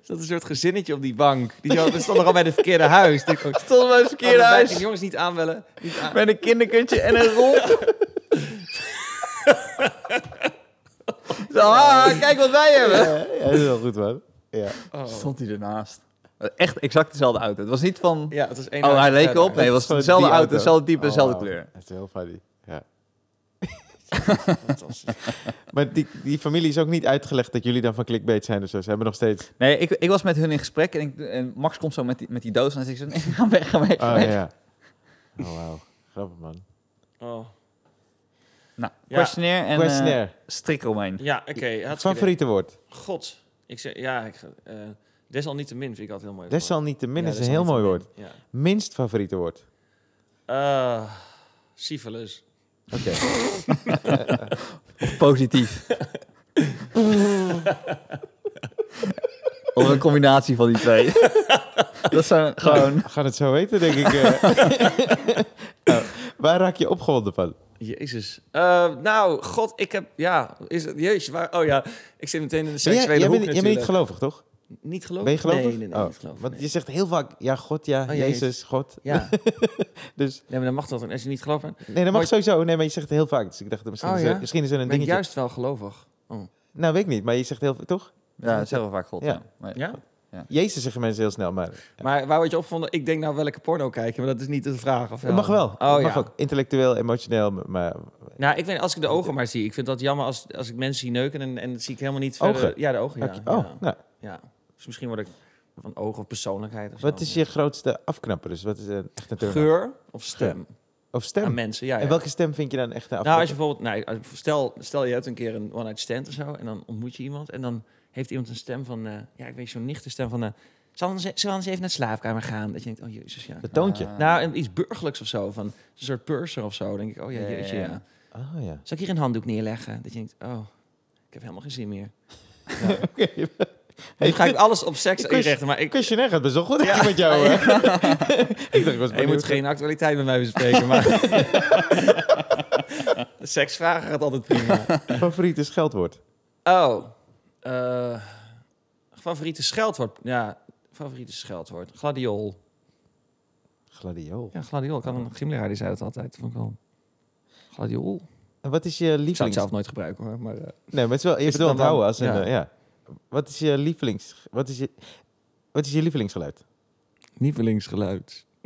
zat een soort gezinnetje op die bank. Die zo- we stonden al bij de verkeerde huis. "Oh, Ik denk ook, Stonden we in het verkeerde allebei- huis Jongens, niet aanbellen. Niet aan- met een kinderkutje en een rol. Zo, ah, kijk wat wij hebben. Ja, dat is wel goed, man. Ja. Oh. Stond hij ernaast. Echt exact dezelfde auto. Het was niet van, Ja, het was één oh hij huis leek verder. op. Nee, het was Gewoon dezelfde die auto, auto. dezelfde type, Oh, dezelfde wauw. kleur. Dat is heel funny. Ja. Fantastisch. Maar die, die familie is ook niet uitgelegd dat jullie dan van clickbait zijn of zo. Ze hebben nog steeds... Nee, ik, ik was met hun in gesprek en, ik, en Max komt zo met die, met die doos en dan zeg ik zo, nee, ga weg, ga weg, Oh, ga weg. ja. Oh, wauw. Grappig, man. Oh. Nou, Ja. questionnaire en eh Questionnaire. strik omheen. Ja, oké. hartstikke Favoriete woord? idee. God. Ik zeg, ja, ik, eh, desalniettemin vind ik altijd heel mooi. woord. Desalniettemin Ja, is een heel mooi woord. desalniettemin, Ja. Minst favoriete woord? Eh, syphilis. Oké. Positief. Of een combinatie van die twee. dat zijn gewoon... We gaan het zo weten, denk ik. eh. Nou, waar raak je opgewonden van? Jezus. Eh, nou, god, ik heb... Ja, is het... Jezus, waar... Oh ja, ik zit meteen in de Ben jij, seksuele jij hoek bent, jij bent niet natuurlijk. gelovig, toch? Niet geloven? Ben je gelovig? Nee, nee, nee, Oh, niet geloven, Want nee. je zegt heel vaak, ja, God, ja, Oh, Jezus, Jezus. God. Ja. nee, maar dan mag dat. Als je niet gelooft bent, Dus- Nee, dat mag Mooi. sowieso. Nee, maar je zegt het heel vaak. Dus ik dacht, misschien, Oh, is, er, ja? misschien is er een ben ik dingetje. juist wel gelovig. Nou, weet ik niet, maar je zegt heel vaak, toch? Ja, dat zeggen we vaak God. Ja. ja. Maar- Ja? Jezus zeggen mensen heel snel, maar Maar waar word je opgevonden? Ik denk nou welke porno kijken, maar dat is niet de vraag. Of dat mag wel. Oh dat ja. mag ook. Intellectueel, emotioneel, maar- maar Nou, ik weet als ik de ogen maar zie. Ik vind dat jammer als, als ik mensen zie neuken en, en dat zie ik helemaal niet verder. Ogen? Ja, de ogen, ja. Heb je- oh, ja. nou, Ja. Dus misschien word ik van ogen of persoonlijkheid of wat zo. is je grootste afknapper? Dus wat is eh, echt een turn-off? Geur of stem Of aan stem? mensen, ja. ja. En welke stem vind je dan echt een Nou, afknapper? als je bijvoorbeeld, nee, als- stel, stel je hebt een keer een one-night stand of zo, en dan ontmoet je iemand, en dan heeft iemand een stem van, eh, ja, ik weet zo'n nichtenstem van, eh zal ze zullen we eens even naar de slaapkamer gaan? Dat je denkt, oh jezus, ja. Het toontje. Ah. Nou, en iets burgerlijks of zo, van een soort purser of zo, dan denk ik, oh ja, jeetje, ja. Oh ja. Zal ik hier een handdoek neerleggen? Dat je denkt, oh, ik heb helemaal geen zin meer. Oké. Nu ga ik alles op seks Ik wist- inrichten, maar ik... Questionnaire gaat best wel goed met jou. hè? ik dacht, ik was Je moet benieuwd. geen actualiteit met mij bespreken, maar... Seksvragen gaat altijd prima. Favoriete scheldwoord? Oh. eh, favoriete scheldwoord. Ja, favoriete scheldwoord. Gladiool. Gladiool. Ja, gladiool. Kan een gymleraar die zei dat altijd. Vond ik wel. Gladiool. En wat is je Ik zou het lievelings... zelf nooit gebruiken hoor. Maar, eh, Nee, maar het is wel eerst het wel dan wel- onthouden. Als een, ja. eh, ja. Wat is je lievelings... Wat is je, wat is je lievelingsgeluid? Nieuwelingsgeluid.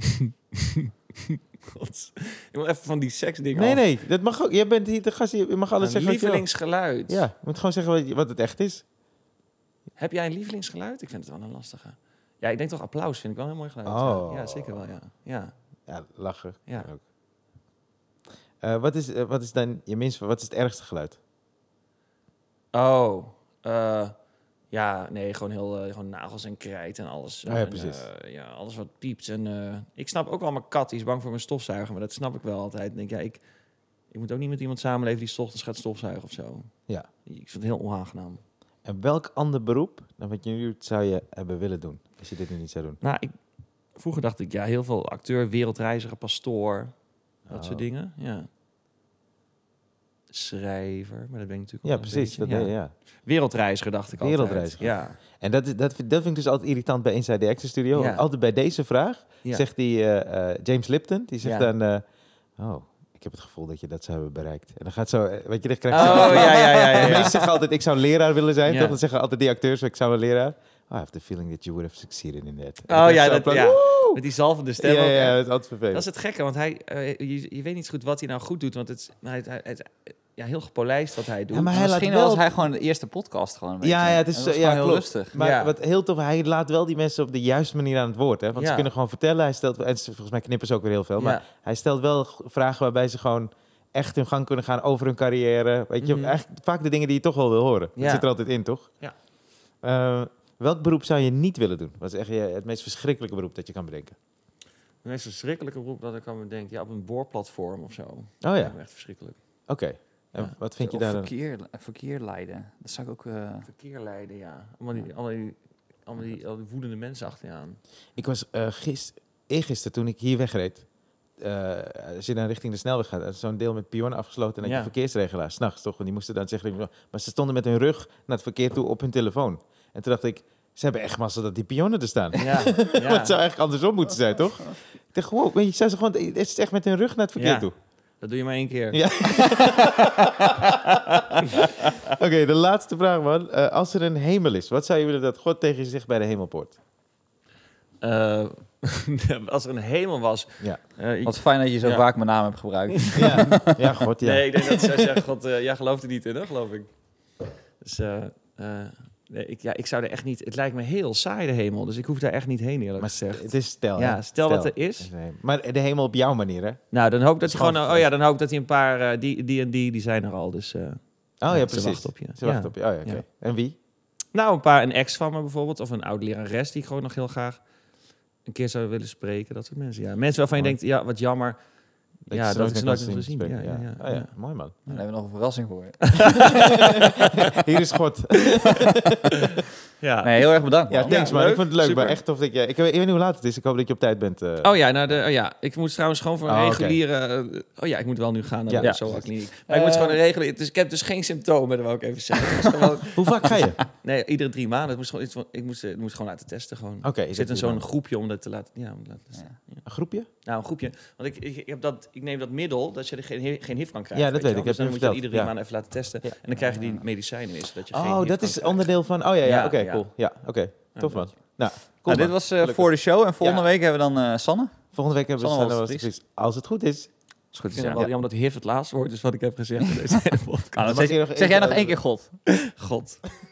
God. Ik wil even van die seksdingen Nee, af. nee, dat mag ook. Jij bent hier de gast, je mag alles zeggen. wat Een je wil. lievelingsgeluid. Ja, je moet gewoon zeggen wat, je- wat het echt is. Heb jij een lievelingsgeluid? Ik vind het wel een lastige. Ja, ik denk toch applaus vind ik wel een heel mooi geluid. Oh. Ja, zeker wel, ja. ja. Ja, lachen. Ja. kan ook. Eh, wat, is, eh, wat is dan je minst... Wat is het ergste geluid? Oh, eh, ja, nee, gewoon heel eh, gewoon nagels en krijt en alles. Ah, ja, En, precies. eh, ja, alles wat piept. En eh, ik snap ook wel mijn kat, die is bang voor mijn stofzuiger, maar dat snap ik wel altijd. Ik denk, ja, ik, ik moet ook niet met iemand samenleven die 's ochtends gaat stofzuigen of zo. Ja. Ik vind het heel onaangenaam. En welk ander beroep dan wat je nu doet zou je hebben willen doen? Als je dit nu niet zou doen. Nou, ik, vroeger dacht ik, ja, heel veel acteur, wereldreiziger, pastoor, dat Oh. soort dingen. Ja. Schrijver, maar dat ben ik natuurlijk Ja, al een precies. beetje, Dat, ja. ja. Wereldreiziger dacht ik altijd. Wereldreiziger. Ja. En dat, is- dat, vind- dat vind ik dus altijd irritant bij Inside the Actors Studio. Ja. Want Altijd bij deze vraag ja. zegt die eh, eh, James Lipton, die zegt Ja. dan... eh, oh, ik heb het gevoel dat je dat zou hebben bereikt. En dan gaat zo... eh, Weet je, dan krijg je... Oh, ja, ja, ja, ja. De ja. meesten zeggen altijd, ik zou een leraar willen zijn. Ja. Toch? Dan zeggen altijd die acteurs, ik zou een leraar. Oh, I have the feeling that you would have succeeded in that. Oh ja, dat, Woe! ja. met die zalvende stem. ja, ook, ja, hè. dat is altijd vervelend. Dat is het gekke, want hij, eh, je, je weet niet zo goed wat hij nou goed doet. Want het, is- hij, hij, hij is, ja, heel gepolijst wat hij doet. Ja, maar hij Misschien laat wel- was hij gewoon de eerste podcast gewoon. weet Ja, je. ja, het is, Dat was eh, gewoon ja, heel klopt. rustig. Maar Ja. wat heel tof, hij laat wel die mensen op de juiste manier aan het woord. Hè? Want ze Ja. kunnen gewoon vertellen. Hij stelt, en ze- volgens mij knippen ze ook weer heel veel. Maar Ja. hij stelt wel g- vragen waarbij ze gewoon echt hun gang kunnen gaan over hun carrière. Weet je, Mhm. eigenlijk vaak de dingen die je toch wel wil horen. Dat Ja. zit er altijd in, toch? Ja. Eh, welk beroep zou je niet willen doen? Wat is echt je- het meest verschrikkelijke beroep dat je kan bedenken? De meest verschrikkelijke beroep dat ik aan me denk. Ja, op een boorplatform of zo. Oh ja, Dat oké. is echt verschrikkelijk. En Ja. wat vind je Of daar dan? verkeer, verkeer leiden. Dat zou ik ook... eh, Verkeer leiden, ja. Allemaal die, allemaal die, allemaal die, al die woedende mensen achter je aan. Ik was eh gisteren, eergisteren, toen ik hier wegreed. eh, als je dan richting de snelweg gaat, er is zo'n deel met pionnen afgesloten. En dat Ja. je verkeersregelaar, s'nachts toch? Want die moesten dan zeggen. Maar ze stonden met hun rug naar het verkeer toe op hun telefoon. En toen dacht ik, ze hebben echt massa dat die pionnen er staan. Ja, Maar het zou ja. eigenlijk andersom moeten zijn, toch? Ik dacht, wow, weet je, zou ze gewoon, het is echt met hun rug naar het verkeer Ja. toe. dat doe je maar één keer. Ja. Oké, de laatste vraag, man. Eh, als er een hemel is, wat zou je willen dat God tegen je zegt bij de hemelpoort? Eh, als er een hemel was. Ja. eh, Wat fijn dat je zo Ja. vaak mijn naam hebt gebruikt. Ja, ja God, ja. Nee, ik denk dat zij zeggen, god, eh, jij gelooft er niet in, hè, geloof ik. Dus eh, eh, nee, ik, ja, ik zou er echt niet... Het lijkt me heel saai, de hemel. Dus ik hoef daar echt niet heen, eerlijk Maar gezegd. het is stel. ja, hè? stel, dat er is. Nee, maar de hemel op jouw manier, hè? Nou, dan hoop ik dat is je gewoon gewoon... Oh ja, dan hoop ik dat hij een paar... eh, die, die en die, die zijn er al, dus... eh, Oh ja, ze precies. wachten op je. Ze wachten Ja. op je. Oh ja, oké. Ja. En wie? nou, een paar... Een ex van me bijvoorbeeld, of een oud lerares... die ik gewoon nog heel graag een keer zou willen spreken. Dat soort mensen, ja. Mensen waarvan je Mooi. denkt, ja, wat jammer. Dat Ja, je ze dat nooit is meer nooit kan meer zien gezien. Ja, spreken. ja, Oh, ja. ja. mooi man. Dan hebben we nog een verrassing voor je. Hier is God. Ja. Nee, heel erg bedankt. Ja, man. thanks Ja, man. leuk. Ik vond het leuk, Super. maar echt tof dat jij... Ik, weet ik weet niet hoe laat het is. Ik hoop dat je op tijd bent. eh. Oh ja, nou de, oh ja, ik moet trouwens gewoon voor een Oh, oké. reguliere... eh, Oh ja, ik moet wel nu gaan naar Ja. de Ja. SOA-kliniek. Maar ik moet Eh. gewoon een reguliere... Dus ik heb dus geen symptomen, dat wil ik even zeggen. Het is gewoon- Hoe vaak ga je? Oké. nee, iedere drie maanden. Het moest gewoon, iets van- ik moest, eh, het moest gewoon laten testen. Gewoon. is Er zit dat in hier zo'n dan? groepje om dat te laten... Ja, om te laten testen. Een groepje? Nou, een groepje. Want ik, ik, ik heb dat, ik neem dat middel dat je er geen, geen HIV kan krijgen. Ja, dat je weet ik. wel. Heb Dus dan je moet verteld. je iedere drie Ja. maanden even laten testen. Ja. En dan krijg je die medicijnen is dat je geen Oh, HIV dat kan is krijgen. onderdeel van... Oh ja, ja Ja, oké, ja. cool. Ja, oké. Tof Ja, man. Nou, cool, Nou, dit man. was eh, voor de show. En volgende Ja. week hebben we dan eh, Sanne. Volgende week hebben we Sanne Sanne was het was het Als het goed is. Is goed, Ik vind het wel jammer dat HIV het laatste woord is wat ik heb gezegd in deze hele podcast. Mag zeg, je nog zeg één jij nog keer één keer God? God.